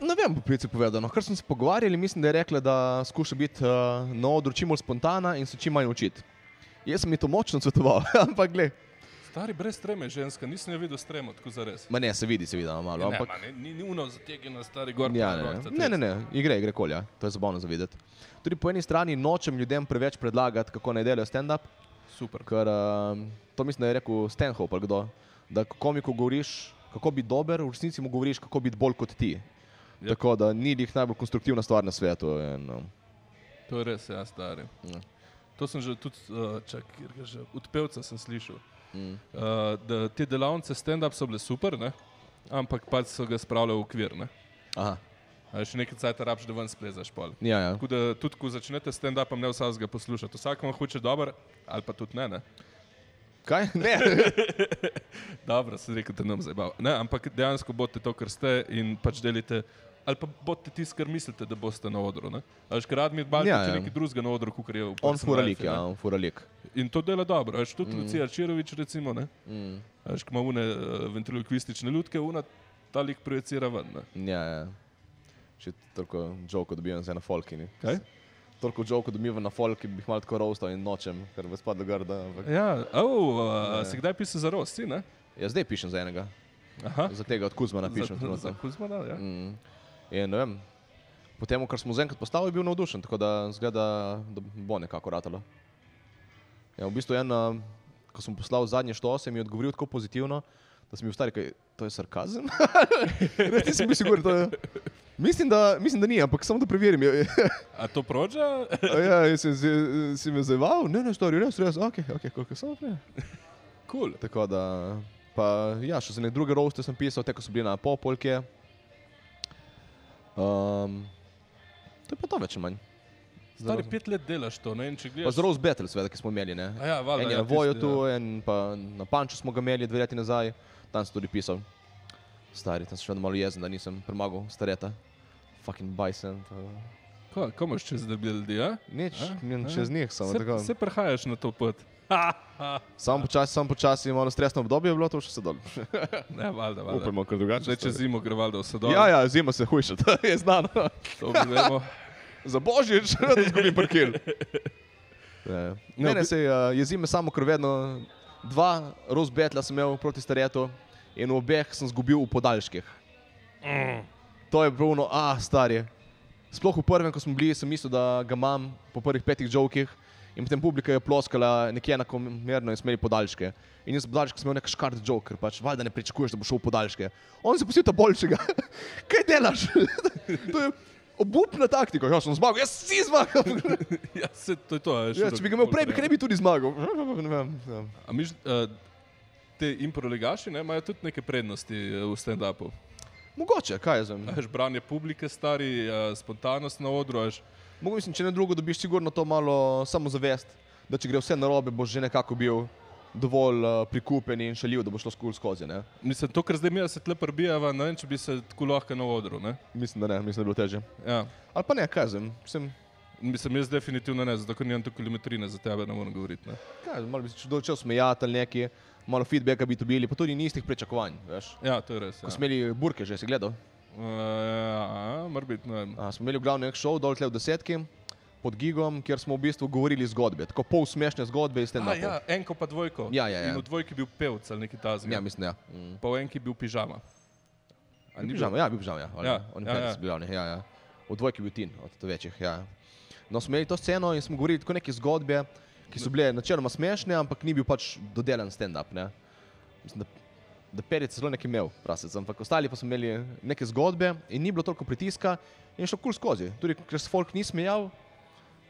S2: Ne vem, po pricu povedano, ker smo se pogovarjali, mislim, da je rekla, da skuša biti uh, na odru čim bolj spontana in se čim manj učiti. Jaz sem ji to močno svetoval, ampak gled,
S1: Stari, brez treme ženska, nisem jo videl s tremo, tako za res.
S2: ma ne, se vidi, se vidi, no, malo,
S1: Ne,
S2: ampak
S1: ma, ne, ni, ni uno zategnjena, stari gor.
S2: Ja,
S1: pa
S2: ne,
S1: rokica,
S2: ne, ne, ne, igre, igre kolja, to je zabavno za videti. Tudi po eni strani nočem ljudem preveč predlagati, kako naj delajo stand-up,
S1: Super.
S2: ker um, to mislim, da je rekel Stenhope ali kdo, da ko komiku govoriš, kako biti dober, v resnici mu govoriš, kako biti bolj kot ti. Yep.
S1: Ja.
S2: Tako da ni njih najbolj konstruktivna stvar na svetu. In, um,
S1: To je res, ja, stari.
S2: Ja.
S1: Ja. To sem že tudi, uh, čak, kjer ga že, od pevca sem slišal.
S2: Mm.
S1: Mm. Uh, da te delavnice stand-up so bile super, ne? ampak pač so ga spravljali v okvir. Ne?
S2: aha,
S1: A še nekaj cajt rabiš, da ven splezaš pol.
S2: ja, ja.
S1: Tako da tudi, ko začnete stand-upom, ne vsakega poslušate. Vsak vam hoče dober, ali pa tudi ne. ne?
S2: Kaj? Ne.
S1: Dobro, se reče, da nam zabav. Ne, ampak dejansko boste to, kar ste in pač delite. Ali pa boste tisti, kar mislite, da boste na odru. ne. A Veš, kar rad mi je balkon,
S2: Ja,
S1: ja,
S2: ja.
S1: ja. nekaj drugega na odru, kot je v
S2: on
S1: personal
S2: furalik,
S1: lifeu, ne.
S2: ja, on furalik.
S1: In to dela dobro, veš, tudi mm. Lucija Čirovič, recimo, ne.
S2: Mm.
S1: Veš, ko ima une eh, ventriloquistične lutke, una ta lik projicira ven. Ne?
S2: Ja, ja. Še toliko žoko dobivam zdaj na folkini.
S1: Kaj?
S2: Toliko žoko dobivam na folki, bi jih malo tako rovstal in nočem, ker bi spadlo grda. Ampak...
S1: Ja, oh, uh, si kdaj pisal za rosti, ne?
S2: Ja, zdaj pišem za enega,
S1: Aha.
S2: za tega od Kuzmana pišem.
S1: za,
S2: trenutno.
S1: za Kuzmana, ja. Mm.
S2: Mm. In ne vem, po tem, kar smo zaenkrat postavili, je bil navdušen, tako da zgleda, da bo nekako ratalo. Ja, v bistvu en, eh, ko sem poslal zadnje štose, mi je odgovoril tako pozitivno, da sem bil star, kaj, to je sarkazem. Res nisem bil sigur, to je. Mislim da, mislim, da ni, ampak samo da preverim. Je-
S1: A to prođa?
S2: Ja, jaz sem se- si me zaval, ne, ne, stori, res, res, ok, ok, koliko sem prej.
S1: Kul. Cool.
S2: Tako da, pa, ja, še za neke druge roste sem pisal, te ko so bili na Ehm, Popolke. Um, to je pa to več ali manj.
S1: Stari pet let delaš to, ne? In če
S2: Pa
S1: gledaš...
S2: z Rose Battle, seveda, ki smo imeli. Ne?
S1: A ja, valjda,
S2: en je
S1: ja,
S2: na Voju
S1: tisti,
S2: tu,
S1: ja.
S2: en pa na Panču smo ga imeli dve leti nazaj, tam sem tudi pisal. Stari, tam sem še vedno malo jezen, da nisem premagal stareta. Fucking bison. To...
S1: ja. Ko, ko imaš čez debildi, ja?
S2: Nič,
S1: A,
S2: min
S1: a.
S2: čez njih samo tako.
S1: Se, se prehajaš na to pot.
S2: Sam počasi, sam počasi, malo stresno obdobje je bilo, to še se dol.
S1: Ne, valjda, valjda.
S2: ker drugače.
S1: Zdaj čez
S2: stari.
S1: zimo gre valjda vse dobro.
S2: Ja, ja, zima se hujša, to je znano.
S1: To bomo.
S2: Za božič, da izgubi parkir. Ne, ne, ne, sej, uh, jezi me samo, ker vedno dva rozbetla sem imel proti staretu in v obeh sem zgubil v podaljških. To je bilo ono, a stari. Sploh v prvem, ko smo bili, sem mislil, da ga imam po prvih petih žokih in potem publika je ploskala nekje enakomerno in smo imeli podaljške. In jaz podaljšek sem imel nek škart žok, ker pač valjda ne pričakuješ, da bo šel v podaljške. On se posil ta boljšega. Kaj delaš? to je obupna taktika. Ja, sem zmagal, jaz si zmagal.
S1: Ja, se, to je to. a veš,
S2: Ja,
S1: da-
S2: če bi ga imel prej, bi
S1: treba.
S2: kremi tudi zmagal. Ne vem, ja.
S1: A miš, uh, te improlegaši ne, imajo tudi neke prednosti eh, v stand-upu.
S2: Mogoče, kaj jaz vem.
S1: A Veš, branje publike, stari, uh, spontanost na odru, a veš.
S2: Mogoče, mislim, če ne drugo, dobiš sigurno to malo samozavest, da če gre vse narobe, boš že nekako bil dovolj uh, prikupen in šaljiv, da bo šlo skul skozi. Ne?
S1: Mislim, to, kar zdaj mi se tle prbijava, ne vem, če bi se tako lahko na odru. Ne?
S2: Mislim, da ne, mislim, da je bilo teže.
S1: Ja.
S2: Ali pa ne, kaj zem, sem.
S1: Mislim, jaz definitivno ne, zato ker nimam toliko kilometrine za tebe, ne morem govoriti. Ne?
S2: Kaj, malo bi se čudo čas smejati ali nekaj, malo feedbacka bi dobili, pa tudi ni istih pričakovanj. Veš.
S1: Ja, to je res. Ja.
S2: Ko smo imeli burke, že si gledal.
S1: Uh, ja, mora biti, ne vem.
S2: A, smo imeli glavno nek šov, dol tle v desetki, pod gigom, kjer smo v bistvu govorili zgodbe, tako pol smešne zgodbe iz tega.
S1: A, ja, enko pa dvojko.
S2: Ja, ja, ja.
S1: In v dvojki bil pevc ali neki tazmi.
S2: ja, mislim, ja. Mm.
S1: Pa v enki bil pižama. A ni
S2: Ni
S1: bil?
S2: pižama, ja, bil pižama, ja. ali
S1: Ja,
S2: ne? On je
S1: ja,
S2: penec
S1: ja.
S2: bil glavni, ja, ja. V dvojki je bil tin, od to večjih, ja. No, smo imeli to sceno in smo govorili tako neke zgodbe, ki so bile načeloma smešne, ampak ni bil pač dodelan stand-up, ne. Mislim, da, da perec je zelo nekaj imel, prasec, ampak ostali pa smo imeli neke zgodbe in ni bilo toliko pritiska in je šlo kul skozi. Tudi, ker se folk ni smejal,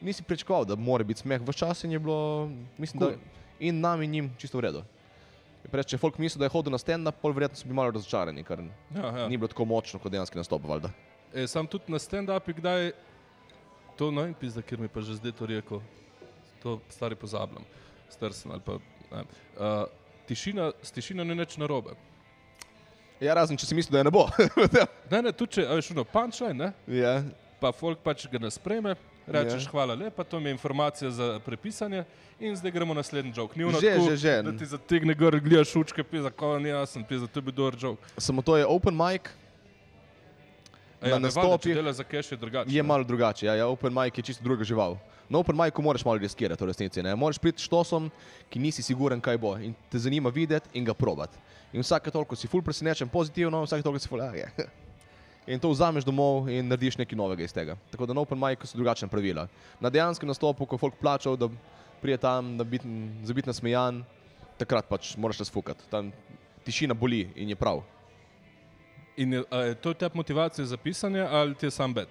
S2: nisi pričakoval, da mora biti smeh v čas in je bilo, mislim, cool.
S1: Kul.
S2: da in nam in njim čisto v redu. Preveč, če folk misli, da je hodil na stand-up, pol verjetno so bili malo razočarani, ker
S1: Ja, ja.
S2: ni bilo tako močno kot dejansko nastop. Valjda.
S1: E, sam tudi na stand-upu, kdaj to no in pizda, ker mi pa že zdaj to rekel, to stari pozabljam, star sem ali pa. ne vem. Uh, tišina, s tišino ni nič narobe.
S2: Ja, razen če si mislil, da je ne bo.
S1: Ne, ne, tudi če a veš, no, pančaj, ne,
S2: ja.
S1: pa folk pač ga ne spreme. Rečeš,
S2: Ja.
S1: yeah. hvala lepa, to mi je informacija za prepisanje, in zdaj gremo na naslednji žog. Ni ono
S2: Že,
S1: tako,
S2: že, že.
S1: Da ti zategne gor, gledaš učke, pisa, ko ni jasen, pisa, to je bil dober žog.
S2: Samo to je open mic, Na
S1: Ja,
S2: nastopih
S1: nastopi. Dela za cache je drugače.
S2: je
S1: ne.
S2: malo drugače. Ja, ja, open mic je čisto druga žival. Na open micu moraš malo riskirati, v resnici. Ne? Moraš priti s tosom, ki nisi siguren, kaj bo. In te zanima videti in ga probati. In vsake toliko si ful presenečen pozitivno, vsake toliko si ful. Ah, je. In to vzameš domov in narediš nekaj novega iz tega. Tako da na open micu so drugačne pravila. Na dejanskem nastopu, ko je folk plačal, da prije tam, da bit, za biti nasmejan, takrat pač moraš razfukati. Tam tišina boli in je prav.
S1: In je, a je to te motivacija za pisanje ali ti je sam bed?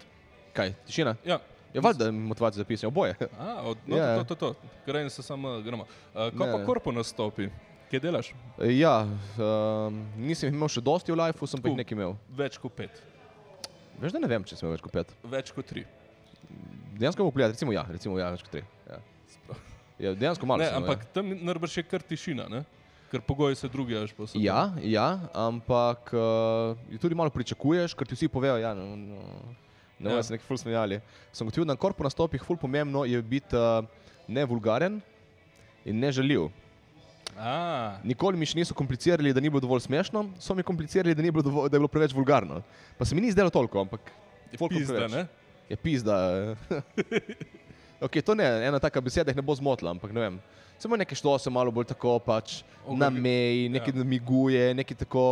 S2: Kaj, tišina?
S1: Ja.
S2: Je valjda motivacija za pisanje, oboje.
S1: A, od, no,
S2: Ja.
S1: yeah. to, to, to, to. Gremo se samo gremo. Uh, ko
S2: Ne,
S1: pa
S2: ne.
S1: korpo nastopi, kje delaš?
S2: Ja, um, nisem jih imel še dosti v lifeu, sem pa
S1: U.
S2: jih nekaj imel.
S1: Več kot pet,
S2: Veš, da ne vem, če sem imel več kot pet.
S1: več kot tri.
S2: Dejansko bom pogledal, recimo ja, recimo ja, več kot tri. Ja. Ja, dejansko malo.
S1: Ne,
S2: sem imel,
S1: ampak tam narbiš še kar tišina, ne? ker pogoji se drugi až posebej.
S2: Ja, ja, ja ampak uh, tudi malo pričakuješ, ker ti vsi povejo, ja, no, no, ne bojo
S1: Ja.
S2: se neki ful smejali. Sem gotovil, da na korpu nastopih ful pomembno je biti uh, ne vulgaren in ne žaljiv.
S1: A,
S2: Nikoli mi še niso komplicirali, da ni bilo dovolj smešno, so mi komplicirali, da, ni bilo dovolj, da je bilo preveč vulgarno. Pa se mi ni zdelo toliko, ampak folkom
S1: pizda,
S2: preveč.
S1: ne?
S2: Je pizda. okay, to ne, ena taka beseda jih ne bo zmotila, ampak ne vem. Samo nekaj šlo se malo bolj tako, pač
S1: Okrog-
S2: na meji, nekaj
S1: ja.
S2: namiguje, nekaj tako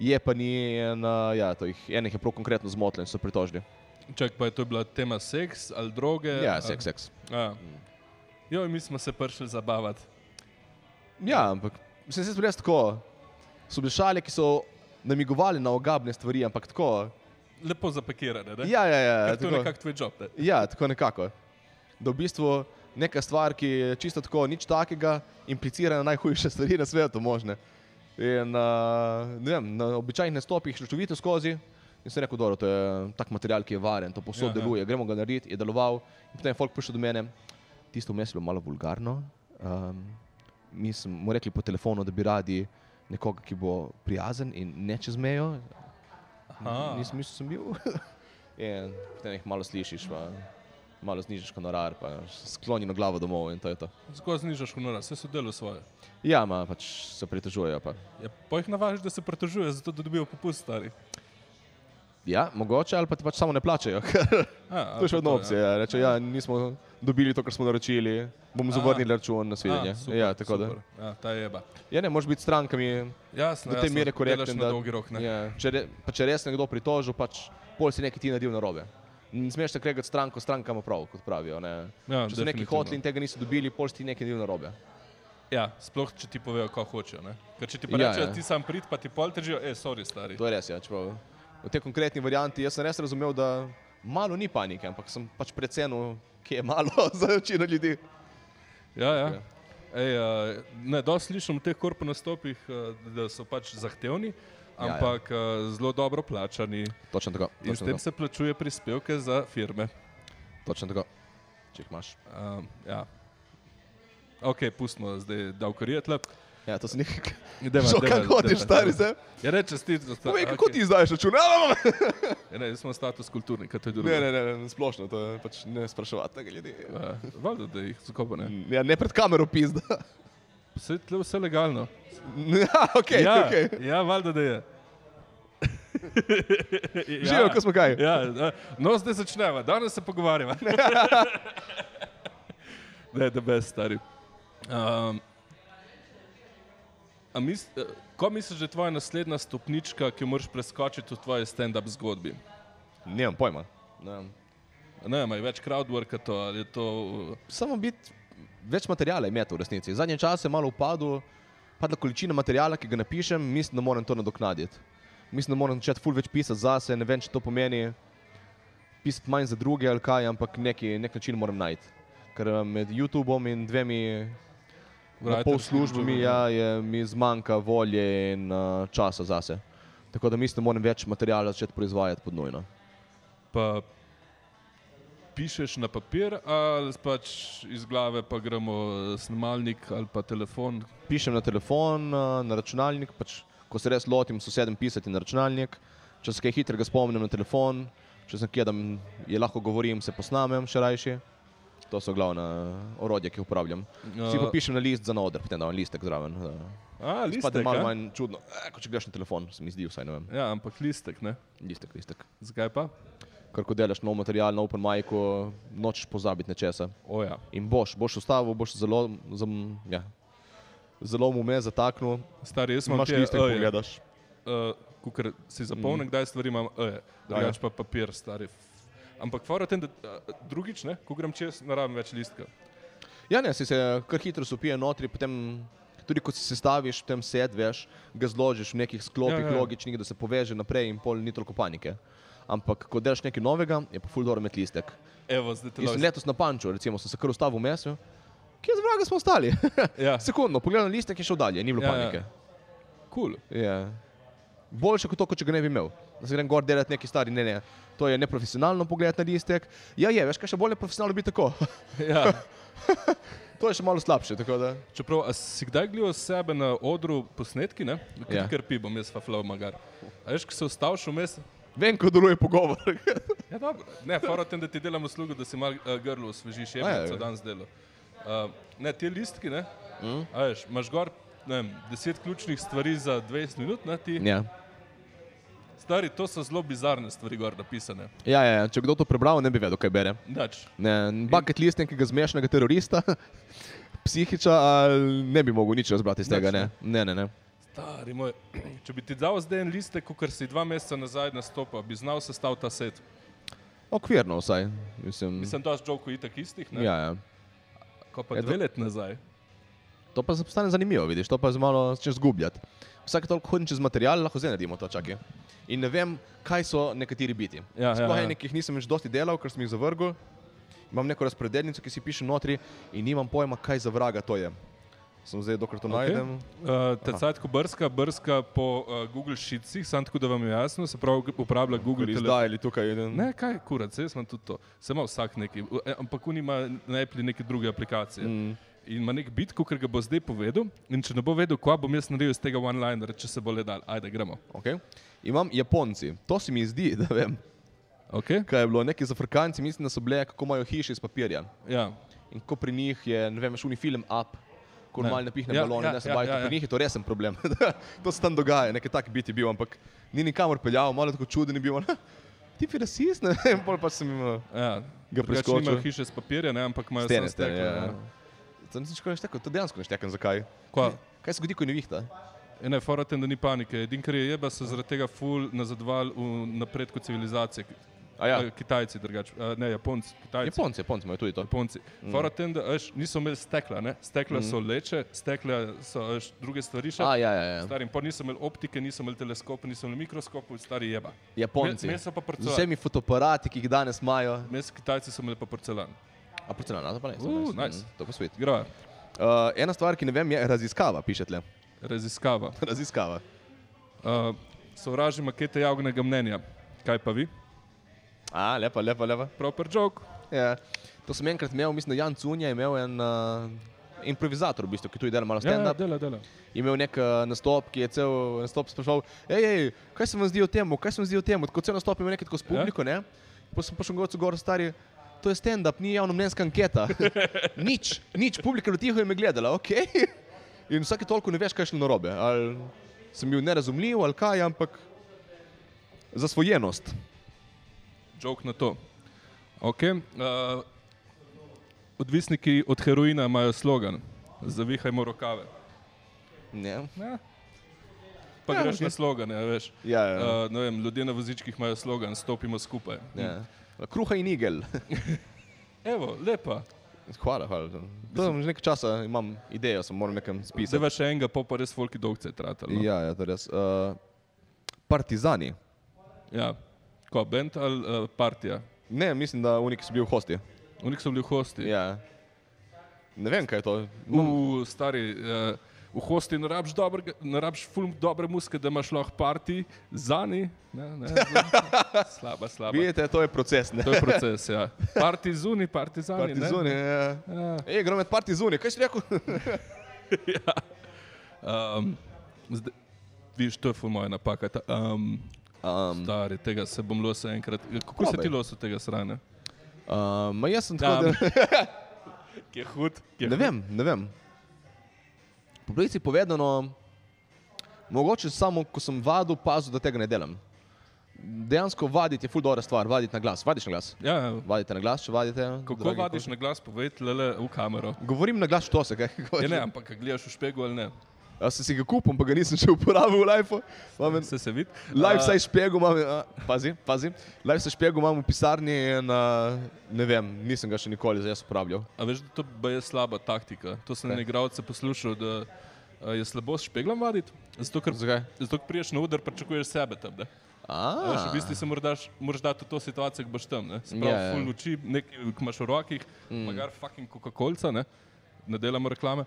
S2: je pa ni. In, uh, ja, to jih, enih je prav konkretno zmotilo in so pritožni.
S1: Čak pa je to bila tema seks ali droge.
S2: Ja,
S1: ali-
S2: seks, seks.
S1: A. Jo, mi smo se prišli zabavati.
S2: Ja, ampak mislim, se res tako. So bile šale, ki so namigovali na ogabne stvari, ampak tako.
S1: Lepo zapakirane, ne?
S2: Ja, ja, ja.
S1: Ker to je
S2: Tako,
S1: nekako tvoj job, ne?
S2: ja, tako nekako. Da v bistvu neka stvar, ki je čisto tako, nič takega, implicira na najhujše stvari na svetu možne. In, uh, ne vem, na običajnih nastopih šločovito skozi. In sem rekel, da to je tak material, ki je varen,
S1: Ja,
S2: to posod
S1: ja.
S2: deluje, gremo ga narediti, je deloval. In potem je folk prišel do mene, tisto vmes je bilo malo vulgarno. Um, mi smo mu rekli po telefonu, da bi radi nekoga, ki bo prijazen in ne čez mejo.
S1: Aha.
S2: Nisem mislil, da sem bil. in potem jih malo slišiš, pa malo znižaš honorar, pa sklonjeno glavo domov in to je to.
S1: Zgolj znižaš honorar, vse so delo svoje.
S2: Ja, ma, pač se pritožujejo. Pa.
S1: Ja, pa jih navajaš, da se pritožuje, zato da dobijo popust stari.
S2: Ja, mogoče ali pa ti pač samo ne plačajo.
S1: A,
S2: to je še vedno opcija. Ja. Reče, ja, nismo dobili to, kar smo naročili, bomo
S1: A.
S2: zavrnili račun
S1: Ja,
S2: na svidenje.
S1: super,
S2: ja, tako da.
S1: super. Ja, ta je jeba.
S2: Ja, ne, moraš biti s strankami
S1: Jasno,
S2: do te
S1: jasno,
S2: mere
S1: delaš
S2: korekten.
S1: na dolgi rok. Ne?
S2: Ja, če, re, pa če res nekdo pritožil, pač pol si nekaj ti naredil narobe. Ne smeš se kregati s stranko, strankama prav, kot pravijo. Ne.
S1: Ja,
S2: če so neki
S1: definitivno.
S2: hoteli in tega niso dobili, pol si ti nekaj naredil narobe.
S1: Ja, sploh če ti povejo, kako hočejo. Ne? Ker če ti pa
S2: Ja,
S1: ja, rečejo,
S2: ja.
S1: ja. ti sam prid, pa ti pol težijo, e, sorry, stari.
S2: To je res, ja, čeprav v tej konkretni varianti jaz sem res razumel, da malo ni panike, ampak sem pač precenil, kje je malo za večino ljudi.
S1: Ja, ja.
S2: Ja.
S1: Ej, a, ne, dosti slišim v teh korpu nastopih, a, da so pač zahtevni,
S2: ja.
S1: ampak ja, ja. zelo dobro plačani.
S2: Točno tako.
S1: In s
S2: Točno
S1: tem
S2: tako.
S1: se plačuje prispevke za firme.
S2: Točno tako. Če jih imaš.
S1: Um, ja. Ok, pustimo zdaj davkarije tle.
S2: Ja, to se nekaj.
S1: Deva,
S2: Šel, kaj hodiš, stari, zdaj?
S1: Ja, reče, čestitno. sta-
S2: Povej, kako
S1: okej.
S2: ti izdaš račun? Ja,
S1: Ja, Ne, smo status kulturnika, to je drugo.
S2: Ne, ne, ne, ne, splošno, to je pač ne spraševati tega ljudi.
S1: Ja, Valjda, da jih zakopa ne.
S2: Ja, ne pred kamero pizda.
S1: Vse tle vse legalno.
S2: Ja, ok,
S1: ja,
S2: ok.
S1: ja, valjda, da je. ja.
S2: Živijo, ko smo kaj.
S1: Ja, ja. no, zdaj začneva, danes se pogovarjava. ne, da bes, stari. Um, a mis, eh, ko misliš, da je tvoja naslednja stopnička, ki jo moraš preskočiti v tvoji stand-up zgodbi?
S2: Nimam pojma. Ne.
S1: Ne, ima več crowdworka to, ali je to... eh,
S2: Samo biti več materijala imeti v resnici. Zadnje čase je malo upadlo, padla količina materijala, ki ga napišem, mislim, da moram to nadoknaditi. Mislim, da moram začeti ful več pisati zase, ne vem, če to pomeni pisati manj za druge ali kaj, ampak neki, nek način moram najti. Ker eh, med YouTubeom in dvemi Na pol
S1: writers-
S2: službami ja, je, mi zmanjka volje in uh, časa zase. Tako da mislim, da moram več materijala začeti proizvajati pod nujno.
S1: pa pišeš na papir, ali pač iz glave pa gremo eh, snemalnik ali pa telefon.
S2: Pišem na telefon, uh, na računalnik, pač, ko se res lotim, sosedem pisati na računalnik. Če se kaj hitrega spomnim na telefon, če sem kje, da je lahko govorim, se posnamem še rajši. To so glavna eh, orodja, ki jih uporabljam. Si pa
S1: Eh,
S2: pišem na list za noder, potem dam listek zraven. Uh,
S1: A,
S2: Spada
S1: listek,
S2: malo
S1: a?
S2: manj čudno, eh, kot če greš na telefon, se mi zdi vsaj, ne vem.
S1: Ja, ampak listek, ne?
S2: Listek, listek.
S1: Zakaj pa?
S2: Ker ko delaš nov material na open majku, nočeš pozabiti nečesa.
S1: Oja.
S2: In boš, boš ustavil, boš zelo, zam, ja, zelo mu me zataknil,
S1: Stari, jaz imam
S2: imaš
S1: te
S2: liste, ki
S1: eje.
S2: gledaš.
S1: Uh, Ker si zapomnim,
S2: Mhm.
S1: kdaj stvari imam
S2: Ja,
S1: eje, drugač pa papir, stari. Ampak fora tem, da eh, drugič, ne, ko grem čez, ne rabim več listka.
S2: Ja, ne, si se kar hitro supije notri, potem tudi ko si sestaviš, potem sedveš, ga zložiš v nekih sklopih
S1: Ja,
S2: ja,
S1: ja.
S2: ja. logičnih, da se poveže naprej in pol ni toliko panike. Ampak ko delaš nekaj novega, je pa fuldor med listek.
S1: Evo, zdaj te
S2: Jaz sem
S1: lahko-
S2: letos na Panču, recimo, sem se kar ustavil v mesu. Kje z vraga smo ostali?
S1: Ja,
S2: Sekundo, pogledal na listek in šel dalje, ni bilo
S1: Ja,
S2: ja,
S1: ja.
S2: panike. Ja.
S1: kul.
S2: Ja. Boljše kot to, kot če ga ne bi imel. Da se grem gor delati neki stari, ne, ne. To je neprofesionalno pogled na listek. Ja, je, veš, kaj še bolj neprofesionalno bi tako.
S1: Ja.
S2: to je še malo slabše, tako da.
S1: Čeprav a si kdaj gledal sebe na odru posnetki, ne?
S2: Ja.
S1: Ja. Ker pi bom jaz faflal magar. A veš, ko se ostaviš vmes,
S2: Vem, kako deluje pogovor.
S1: ja dobro, ne, fora v tem, da ti delam uslugo, da si mal uh, grlo osvežiš, je
S2: A, ja,
S1: bilo
S2: ja.
S1: danes delo. Uh, ne, te listki, ne? Mm. A veš, imaš gor, ne vem, deset ključnih stvari za 20 minut, ne ti?
S2: ja.
S1: Stari, to so zelo bizarne stvari gor napisane.
S2: Ja, ja, ja, če kdo to prebral, ne bi vedel, kaj bere.
S1: Dač,
S2: Ne, bucket list nekega zmešnega terorista, psihiča, ali ne bi mogel nič razbrati iz tega. Ne, ne, ne. ne.
S1: stari moj, če bi ti dal zdaj en listek, kot si dva meseca nazaj nastopa, bi znal sestaviti ta set.
S2: Okvirno vsaj. Mislim,
S1: Mislim, da je žoko itak istih, ne?
S2: ja, ja.
S1: Ko pa
S2: Ja, to-
S1: dve let nazaj.
S2: To pa se postane zanimivo, vidiš, to pa se malo začneš zgubljati. Vsak toliko hodim čez material, lahko zdaj naredimo to čakaj. In ne vem, kaj so nekateri biti.
S1: Ja, ja,
S2: Sploh
S1: ja.
S2: enih, ki jih nisem več dosti delal, ker sem jih zavrgel. Imam neko razpredelnico, ki si piše notri in nimam pojma, kaj za vraga to je. Sem zdaj, dokler to okay. najdem.
S1: Uh, Tecaj, ko brska, brska po uh, Google Sheetsih, samo tako da vam je jasno, se pravi, uporablja Google
S2: Google
S1: telefon.
S2: izdajali tukaj. Ne?
S1: Ne, kaj kurac, jaz imam tudi to. Se ima vsak neki, v- e, ampak on ima na Apple neke druge aplikacije. Mm. In ima nek bitko, ker ga bo zdaj povedal. In če ne bo vedel, kva bom jaz naredil iz tega one-linera, če se bo le dal. Ajde, gremo.
S2: Okay. Imam Japonci, to se mi zdi, da vem,
S1: Okay?
S2: kaj je bilo. Neki z Afrikanci, mislim, da so bile, kako imajo hiše iz papirja.
S1: Ja.
S2: In ko pri njih je, ne vem, šuni film up, ko
S1: Ne.
S2: normalno napihne
S1: Ja,
S2: ja, balon,
S1: ja,
S2: ja, ne se
S1: ja,
S2: bajte,
S1: ja,
S2: ja,
S1: ja.
S2: pri njih je to resen problem. to se tam dogaja, nekaj tak biti bil, ampak ni nikamor peljal, malo tako čuden je bil. Ti si rasist, ne vem, pol pa sem jim... eh,
S1: Ja.
S2: Ga
S1: Drugače
S2: preskočil.
S1: Nimajo hiše iz papirja, ne, ampak imajo samo steklo.
S2: ja.
S1: ne.
S2: Sem si škoda neštekal, to dejansko neštekam, zakaj.
S1: Kva?
S2: Kaj se zgodi, ko je nevihta?
S1: E, Ne, foraten, da ni panike. Edin, kar je jeba, se zaradi tega ful nazadoval v napredku civilizacije.
S2: A ja.
S1: Eh, Kitajci drugače, Eh, ne, Japonci, Kitajci.
S2: Japonci, Japonci imajo tudi to.
S1: Japonci. Mm. Foraten, da veš, niso imeli stekla, ne? stekla mm. so leče, stekla so veš, druge stvari še.
S2: A, ja, ja, ja.
S1: Starim, pa niso imeli optike, niso imeli teleskopa, niso imeli mikroskopov, stari jeba.
S2: Japonci.
S1: Me- me so pa
S2: Z
S1: porcelan.
S2: vsemi fotoparati, ki jih danes imajo.
S1: Mes Kitajci so imeli pa porcelan.
S2: A porcelan, a to pa ne. to
S1: Uh,
S2: ne,
S1: nice.
S2: To pa svet.
S1: Grava,
S2: Uh, ena stvar, ki ne vem, je raziskava, piše tle.
S1: raziskava.
S2: raziskava.
S1: Uh, sovražim makete javnega mnenja. Kaj pa vi?
S2: A, lepa, lepa, lepa.
S1: Proper joke.
S2: Ja. To sem enkrat imel, mislim, da Jan Cunja je imel en uh, improvizator, v bistvu, ki tudi dela malo
S1: Ja, ja,
S2: stand-up,
S1: dela, dela.
S2: je imel nek eh, nastop, ki je cel nastop sprašal, hej, hej, kaj se vam zdi o tem, kaj se vam zdi o tem, kot cel nastop je imel nekaj tako s publiko, ne? Pa sem prišel gor, gor stari, to je stand-up, ni javnomnenjska anketa. nič, nič, publika je tiho in me gledala, ok. In vsake toliko ne veš, kaj je šlo narobe, ali sem bil nerazumljiv ali kaj, ampak zasvojenost.
S1: Žok na to. Okay. Uh, odvisniki od heroina imajo slogan: Zavihajmo rokave.
S2: Ne.
S1: Ja. Pa
S2: Ja,
S1: ja, greš
S2: okej.
S1: okay. na slogan, ja, veš.
S2: Ja, ja.
S1: Uh, ne vem, ljudje na vozičkih imajo slogan: Stopimo skupaj.
S2: Ja. Kruha in igel.
S1: Evo, lepa.
S2: Hvala, hvala. To sem že nekaj časa, imam idejo, sem moram nekam spisati.
S1: Zdaj pa še enega, pa pa res folki dolgce tratali. no.
S2: Ja, ja, to je res. Uh, partizani.
S1: ja. Ko, bend ali uh, partija?
S2: Ne, mislim, da unik si bil hosti.
S1: Oni so bili v hosti.
S2: Ja. Ne vem, kaj je to.
S1: Ja, V stari, uh, v hosti ne rabiš, dobrega- ne rabiš fulm dobre muske, da imaš lahko parti, zani. Ne, ne, slaba, slaba.
S2: Vidite, to je proces. Ne?
S1: To je proces, ja. Parti zuni, parti zani.
S2: Partizani.
S1: ne?
S2: Ja. Ej, gre med partizani, kaj si rekel?
S1: Um, zda, viš, to je ful moja napaka. Ta, um,
S2: Um,
S1: stari, tega se bom losil enkrat. Kako se
S2: Probaj.
S1: ti losil tega sranja?
S2: um, ma jaz sem
S1: Tam.
S2: tako, da,
S1: Ki je hud. ki Ja, je
S2: ne
S1: hud.
S2: vem, ne vem. Po pravici povedano, mogoče samo, ko sem vadil, pazil, da tega ne delam. Dejansko vaditi je ful dobra stvar, vaditi na glas. Vadiš na glas?
S1: Ja, ja.
S2: Vadite na glas, če vadite.
S1: Kako
S2: dragi
S1: vadiš
S2: ko-
S1: na glas, povej le v kamero.
S2: Govorim na glas, to se kaj.
S1: Ja, ne, ampak ga gledaš v špegu ali ne.
S2: Jaz sem si ga kupil, pa ga nisem še uporabil v lifeu. Imam en-
S1: Se se vidi.
S2: Live
S1: A,
S2: sa špegu imam, a, pazi, pazi. Live sa špegu imam v pisarni in a, ne vem, nisem ga še nikoli zdaj uporabljal.
S1: A veš, da to baje je slaba taktika. To sem
S2: Kaj?
S1: en igralce poslušal, da a, je slabo s špeglom vaditi. Zato, ker,
S2: Zakaj?
S1: zato, ker priješ na udar, pričakuješ sebe tam. ne. A Veš, Ja, v bistvu se mordaš, moraš dati v to situacijo, ko boš tam. Ne? Se pravi,
S2: Ah. Ja,
S1: yeah.
S2: ja.
S1: ful luči, nekaj ko imaš v rokih, mm. magar fucking Coca-Cola, ne? ne delamo reklame.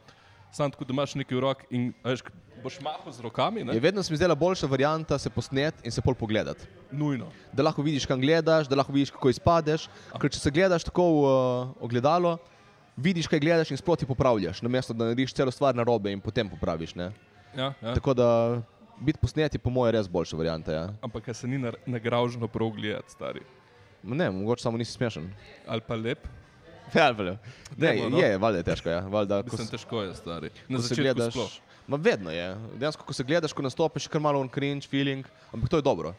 S1: Sam tako, da imaš nekaj v roki in a veš, k- boš mahal z rokami,
S2: Je
S1: ne?
S2: vedno se mi zdela boljša varianta se posnet in se pol pogledat.
S1: nujno.
S2: Da lahko vidiš, kam gledaš, da lahko vidiš, kako izpadeš. Ker če se gledaš tako v a, ogledalo, vidiš, kaj gledaš in sproti popravljaš, namesto da narediš celo stvar na robe in potem popraviš. Ne?
S1: Ja, ja.
S2: Tako da biti posnet je po mojem res boljša varianta. Ja.
S1: Ampak a se ni na- nagražno prav gledati, stari.
S2: Ma Ne, mogoče samo nisi smešen.
S1: Ali pa lep,
S2: Ja, velja. Ne,
S1: Dajmo, no.
S2: je, valjda je težko, ja. Valjda, ko
S1: mislim,
S2: s-
S1: težko je, stari. Na
S2: ko se
S1: začetku
S2: gledaš.
S1: sploh.
S2: Ma vedno je. Dejansko, ko se gledaš, ko nastopiš, je kar malo on cringe feeling, ampak to je dobro.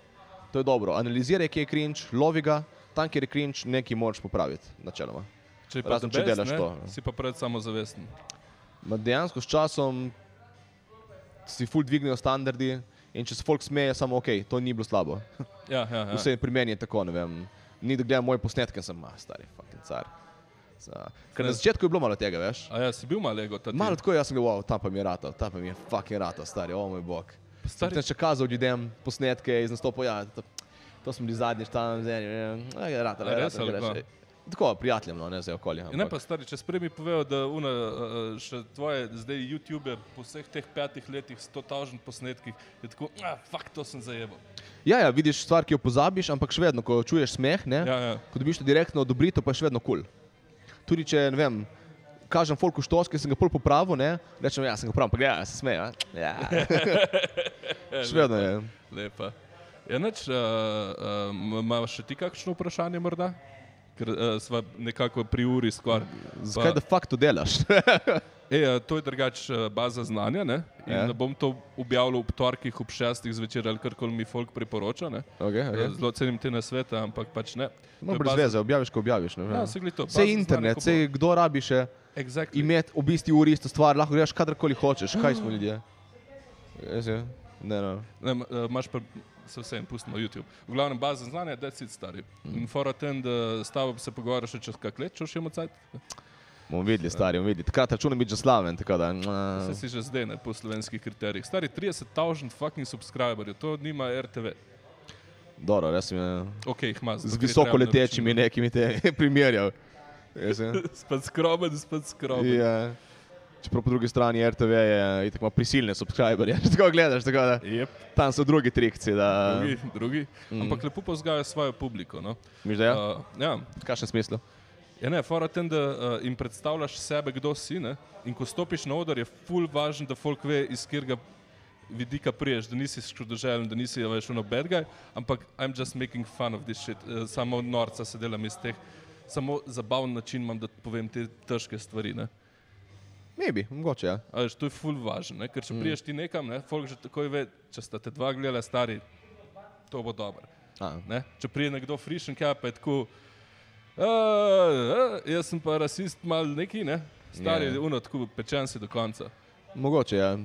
S2: To je dobro. Analiziraj, kje je cringe, lovi ga, tam, kjer je cringe, nekaj moraš popraviti, načeloma.
S1: Če je pa Razen,
S2: Razen, če
S1: best,
S2: delaš
S1: ne,
S2: to, ne.
S1: Si pa pred samozavesten.
S2: Ma dejansko s časom si ful dvignejo standardi in če se folk smeje, samo ok, to ni bilo slabo.
S1: Ja, ja, ja.
S2: Vse pri meni je tako, ne vem. Ni da gledam moje posnetke, sem ma, stari, fucking car. Za- Ker na
S1: Ne.
S2: začetku je bilo malo tega, veš.
S1: A ja, si bil malo ego, ta ti?
S2: Malo tako jaz sem govoril, wow, tam pa mi je rata, tam pa mi je fucking rata, stari, o moj bog. Stari.
S1: Stari,
S2: Sem še kazal ljudem posnetke iz nastopa, ja, to, to smo bili zadnjič tam, zdaj ne vem, ja, aj je rata,
S1: A
S2: aj
S1: res
S2: rata.
S1: ali
S2: glej,
S1: kva?
S2: še- Tako, prijateljem, no, ne zdaj okolje.
S1: Ja, Ne pa stari, če sprej mi povejo, da una, eh, še tvoje zdaj YouTube po vseh teh petih letih, sto tažnih posnetkih, je tako, ah, fakt to sem zajebal.
S2: Ja, ja, vidiš stvar, ki jo pozabiš, ampak še vedno, ko čuješ smeh, ne,
S1: Ja, ja.
S2: ko dobiš to direktno odobritev, pa je še vedno kul. Cool. Tudi če, ne vem, kažem folku štos, ki sem ga pol popravil, ne, rečem, ja, sem ga pravil, pa gledaj, ja, se smeje, ja. še vedno je.
S1: Lepa. Ja, nič, uh, uh, imaš še ti kakšno vprašanje morda? Ker uh, smo nekako pri uri skoraj.
S2: Zakaj
S1: Pa-
S2: de facto delaš?
S1: E, eh, to je drugače eh, baza znanja. Ne? In
S2: Ja.
S1: ja. bom to objavil ob torkih, ob šestih zvečer ali karkoli mi folk priporoča. ne.
S2: okay, okay.
S1: Zelo cenim te nasvete, ampak pač ne. To
S2: Ja. No,
S1: je
S2: brez
S1: baza-
S2: veze, objaviš, ko objaviš. ne vem.
S1: Ja, saj glej to,
S2: Saj
S1: baza
S2: internet,
S1: znanja,
S2: sej kdo rabi še
S1: Exactly.
S2: imeti ob isti uri isto stvar, lahko greš kadarkoli hočeš, kaj smo ljudje. Jaz je, ne, no.
S1: Ne, m- eh, imaš pa se vsem, pustimo YouTube. V glavnem baza znanja, da si stari. Mm. In fora ten, da s tabo se pogovarjaš še čez kak let, če še imamo cajt.
S2: Ja. Bomo videli, stari, bomo videli. Takrat računam biti že slaven, tako da.
S1: Vse
S2: mm,
S1: si že zdaj ne po slovenskih kriterijih. Stari 30.000 fucking subscriberjev, to nima RTV.
S2: Dobro, jaz sem eh,
S1: Ok, jih ima.
S2: z visoko letečimi nekimi te primerjal. Jaz je.
S1: Spet skroben, spet skroben.
S2: Ja. Čeprav po drugi strani RTV je itak ima prisilne subscriberje, če tako gledaš, tako da.
S1: Yep.
S2: Tam so drugi trikci, da.
S1: Drugi, drugi. Mm. Ampak lepo povzgaja svojo publiko. No?
S2: Miš da ja?
S1: Uh, ja.
S2: V kakšnem smislu?
S1: Ja, ne, fora tem, da uh, jim predstavljaš sebe, kdo si. Ne? In ko stopiš na oder, je ful važno, da folk ve, iz katerega vidika priješ, da nisi škodoželjen, da nisi ja, več ono bad guy, ampak I'm just making fun of this shit. Uh, samo norca se delam iz teh, samo zabaven način imam, da povem te težke stvari. Ne?
S2: Maybe, mogoče. Ja.
S1: A Veš, to je ful važno, ne? ker če mm. priješ ti nekam, ne? folk že takoj ve, če sta te dva gledala stari, to bo dobro.
S2: A,
S1: Ne? Če prije nekdo frišen, kaj pa je tako, "Eh, eh, jaz sem pa rasist, mal neki, ne? stari,
S2: Ja.
S1: yeah. uno, tako pečen si do konca.
S2: mogoče, ja.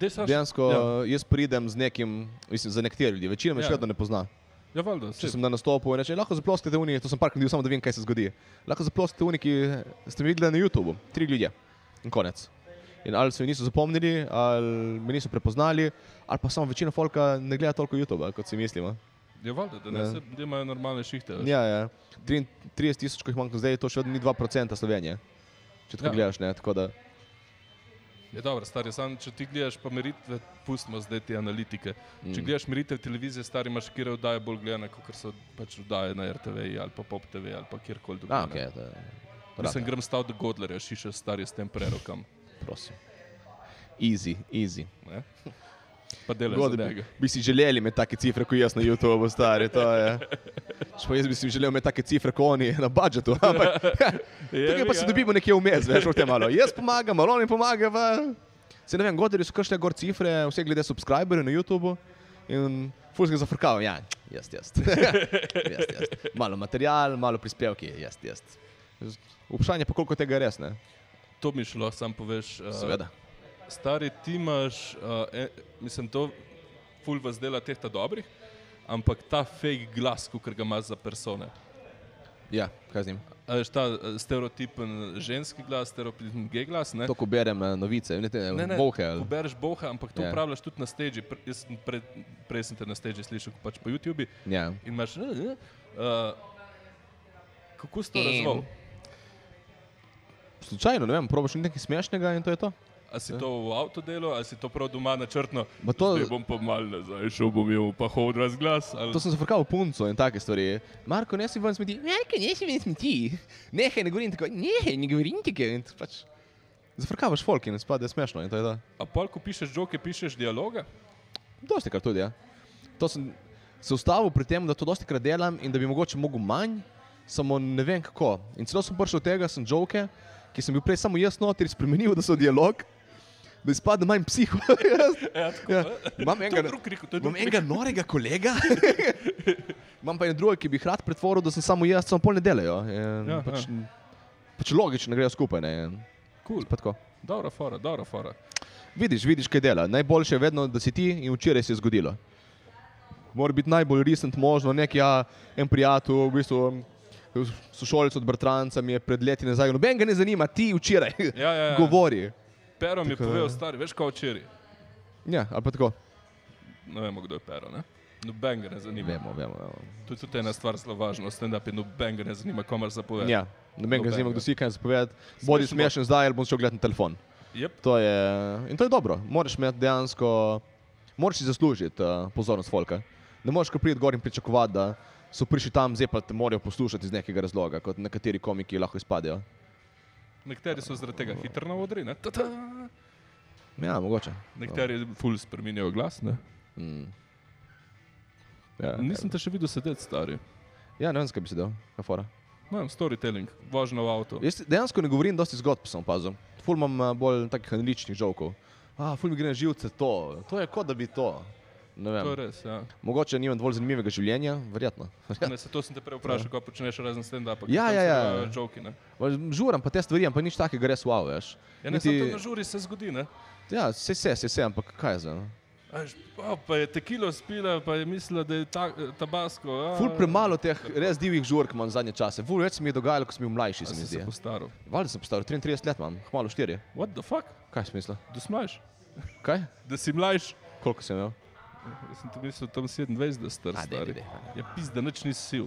S1: Dej, Saš,
S2: Dejansko
S1: Ja,
S2: ja. jaz pridem z nekim, mislim, za nekatere ljudi, večina me
S1: Ja.
S2: še vedno ne pozna.
S1: ja valjda,
S2: Če
S1: saj.
S2: sem na nastopu in rečem, lahko zaploskate unije, to sem park naredil samo, da vem, kaj se zgodi. Lahko zaploskate unije, ki ste mi videli na YouTubu, tri ljudje in konec. In ali se mi niso zapomnili, ali me niso prepoznali, ali pa samo večina folka ne gleda toliko YouTube, kot si mislimo.
S1: ja valjda, da ne,
S2: Ja.
S1: se, da imajo normalne šihte. veš.
S2: Ja, ja. 30 tisoč, ko jih imam zdaj, to še vedno ni 2% Slovenije. Če tako
S1: Ja.
S2: ja. gledaš, ne, tako da.
S1: Je dobro, stari, samo če ti gledaš pa meritve, pustimo zdaj te analitike. Mm. Če gledaš meritve televizije, stari imaš kjer oddaje bolj gledane, kot so pač oddaje na RTV ali pa Pop TV ali pa kjerkoli drugje.
S2: A,
S1: Ja, ne.
S2: okay, da,
S1: Mislim, grem stav do Godlerja, šiše stari s tem prerokam.
S2: prosim. Easy, easy.
S1: ne. Pa delaš za
S2: Godine.
S1: tega.
S2: Bi si želeli imeti take cifre, kot jaz na YouTubu, stari. To je. Špo, jaz bi si želel imeti take cifre, kot oni na budžetu. Ampak ja, tukaj pa se dobimo nekje vmes, veš, o tem malo. Jaz pomagam, malo oni pomagajo. pa Se ne vem, goderi so kašle gor cifre, vse glede subscriberjev na YouTubu. In fulske zafrkavam, ja, jaz, jaz. jaz, jaz. Malo material, malo prispevki, jaz, jaz. Vprašanje pa koliko tega je res, ne?
S1: To mi šlo, sam poveš. eh,
S2: Seveda.
S1: Stari, ti imaš, uh, e, mislim, to ful vas dela teh ta dobrih, ampak ta fake glas, ki ga imaš za persone.
S2: Ja, kaj z njim?
S1: A veš, ta eh, stereotipen ženski glas, stereotipen gej glas. Ne?
S2: To, ko berem eh, novice, ne te bohe. ali-
S1: Pobereš boha, ampak to
S2: Ja.
S1: uporabljaš yeah. tudi na steži. Pre, jaz sem pred- prej sem te na steži slišal, ko pač po YouTubi.
S2: Ja.
S1: In imaš, eh, eh, uh, kako si to razvil?
S2: Slučajno, ne vem, probiš nekaj smešnega in to je to.
S1: A si to v avtu delo, ali si to prav doma načrtno?
S2: Ja. Ma to-
S1: Zdaj bom pa mal nazaj, šel bom jim pa hod razglas. Ali...
S2: To sem zafrkal punco in take stvari. Marko, ne si ven smeti. Marko, ne si ven smeti. Nehaj, ne govorim tako. Nehaj, ne govorim tako. In t- Pač. Zafrkavaš folk in spade smešno in to je to.
S1: A pol, ko pišeš žoke, pišeš dialoge?
S2: Dosti kar tudi, ja. To sem se ustavil pri tem, da to dosti krat delam in da bi mogoče mogel manj, samo ne vem kako. In celo sem prišel do tega, sem joke, ki sem bil prej samo jaz noter, spremenil, da so dialog, da izpade manj psiho. ja, ja. Imam
S1: To je
S2: enega,
S1: drug krik, to je drug
S2: imam
S1: krik.
S2: enega norega kolega, imam pa en drug, ki bi jih rad pretvoril, da sem samo jaz, samo pol ne delajo. In
S1: Ja,
S2: pač, pač logično grejo skupaj. Ne? In
S1: Kul,
S2: pa tako.
S1: dobra fora, dobra fora.
S2: Vidiš, vidiš, kaj dela. Najboljše je vedno, da si ti in včeraj se je zgodilo. Mora biti najbolj resen možno, nek ja, en prijatelj, v bistvu um, sošolec od bratranca mi je pred leti nazaj, noben ga ne zanima, ti včeraj
S1: Ja, ja, ja.
S2: govori.
S1: Pero mi je
S2: Tako,
S1: povedal,
S2: ja.
S1: stari, veš kot včeraj.
S2: Ja, ali pa tako.
S1: Ne vemo, kdo je pero, ne? Noben ga ne zanima.
S2: Vemo, vemo. vemo.
S1: To je tudi ena stvar zelo važna, stand-up je noben ga ne zanima, komar zapovedati.
S2: Ja, noben ga ne zanima,
S1: Nobenega.
S2: kdo si kaj zapovedati. Bodi
S1: Smešen bo.
S2: smešen zdaj ali bom šel gledati na telefon.
S1: Yep.
S2: To je, in to je dobro. Moraš imeti dejansko, moraš si zaslužiti uh, pozornost folka. Ne moreš, ko prideš gor in pričakovati, da so prišli tam, zdaj pa te morajo poslušati iz nekega razloga, kot nekateri komiki lahko izpadejo.
S1: Nekateri so zaradi tega hitro na odri, ne? Ta-ta!
S2: Ja, mogoče.
S1: Nekateri ful spreminjajo glas, ne?
S2: Ja,
S1: Nisem te še videl sedeti, stari.
S2: ja ne vem, kaj bi si dal, na fora.
S1: Ne vem, storytelling, vožnja v avtu.
S2: Jaz dejansko ne govorim dosti zgodb, sem opazil. Ful imam eh, bolj takih analičnih žovkov. A, ful mi gre na živce to, to je kot da bi to. Ne
S1: To je
S2: vem.
S1: res, ja.
S2: Mogoče nimam dovolj zanimivega življenja, verjetno.
S1: Ne, se to sem te prej vprašal, kaj počneš razen stand-upa.
S2: Ja,
S1: ker tam
S2: ja,
S1: so,
S2: ja.
S1: eh, Žoki, ne?
S2: Žuram pa te stvari, ampak nič takega res wow, veš.
S1: Ja, ne, Niti... samo tam na žuri se zgodi, ne?
S2: Ja, se se, se, se ampak kaj no? za.
S1: A veš, pa- pa je tekilo spila, pa je mislila, da je ta, eh, tabasko. A,
S2: Ful premalo teh res divjih žurk imam zadnje čase. Ful več se mi je dogajalo, ko sem bil mlajši,
S1: A
S2: se mi
S1: si
S2: zdi. ja.
S1: se postaral.
S2: Valjda sem postal 33 let, imam, hmalo 4.
S1: What the fuck?
S2: Kaj smisla?
S1: Da si mlajš?
S2: Kaj?
S1: Da si mlajš?
S2: Koliko sem imel?
S1: Jaz sem to mislil tam 27, da star.
S2: A, daj,
S1: stari.
S2: daj, daj.
S1: Ja, pizda, nič nisi sil.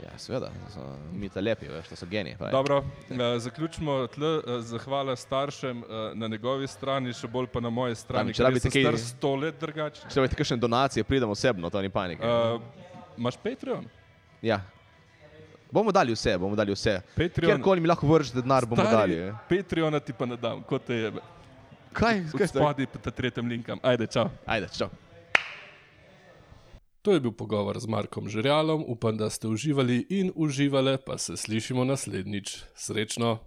S2: Ja, seveda, so, mi ta lepi, veš, to so geniji. pa je.
S1: Dobro, eh, zaključimo tle, eh, zahvala staršem eh, na njegovi strani, še bolj pa na moji strani, ker
S2: če
S1: jaz
S2: rabite
S1: sem
S2: kaj-
S1: star 100 let drugače.
S2: Če veste,
S1: Ja.
S2: kakšne donacije pridem osebno, to ni panike.
S1: Eh, Imaš Patreon?
S2: Ja. Bomo dali vse, bomo dali vse.
S3: Patreon.
S2: Kjerkoli mi lahko vržete denar, bomo dali. eh.
S3: Patreona ti pa ne dam, kot te jebe.
S2: Kaj, kaj ste?
S3: Spodaj po tretjem linkam. Ajde, čau.
S2: Ajde, čau.
S1: To je bil pogovor z Markom Žerjalom, upam, da ste uživali in uživale, pa se slišimo naslednjič. Srečno!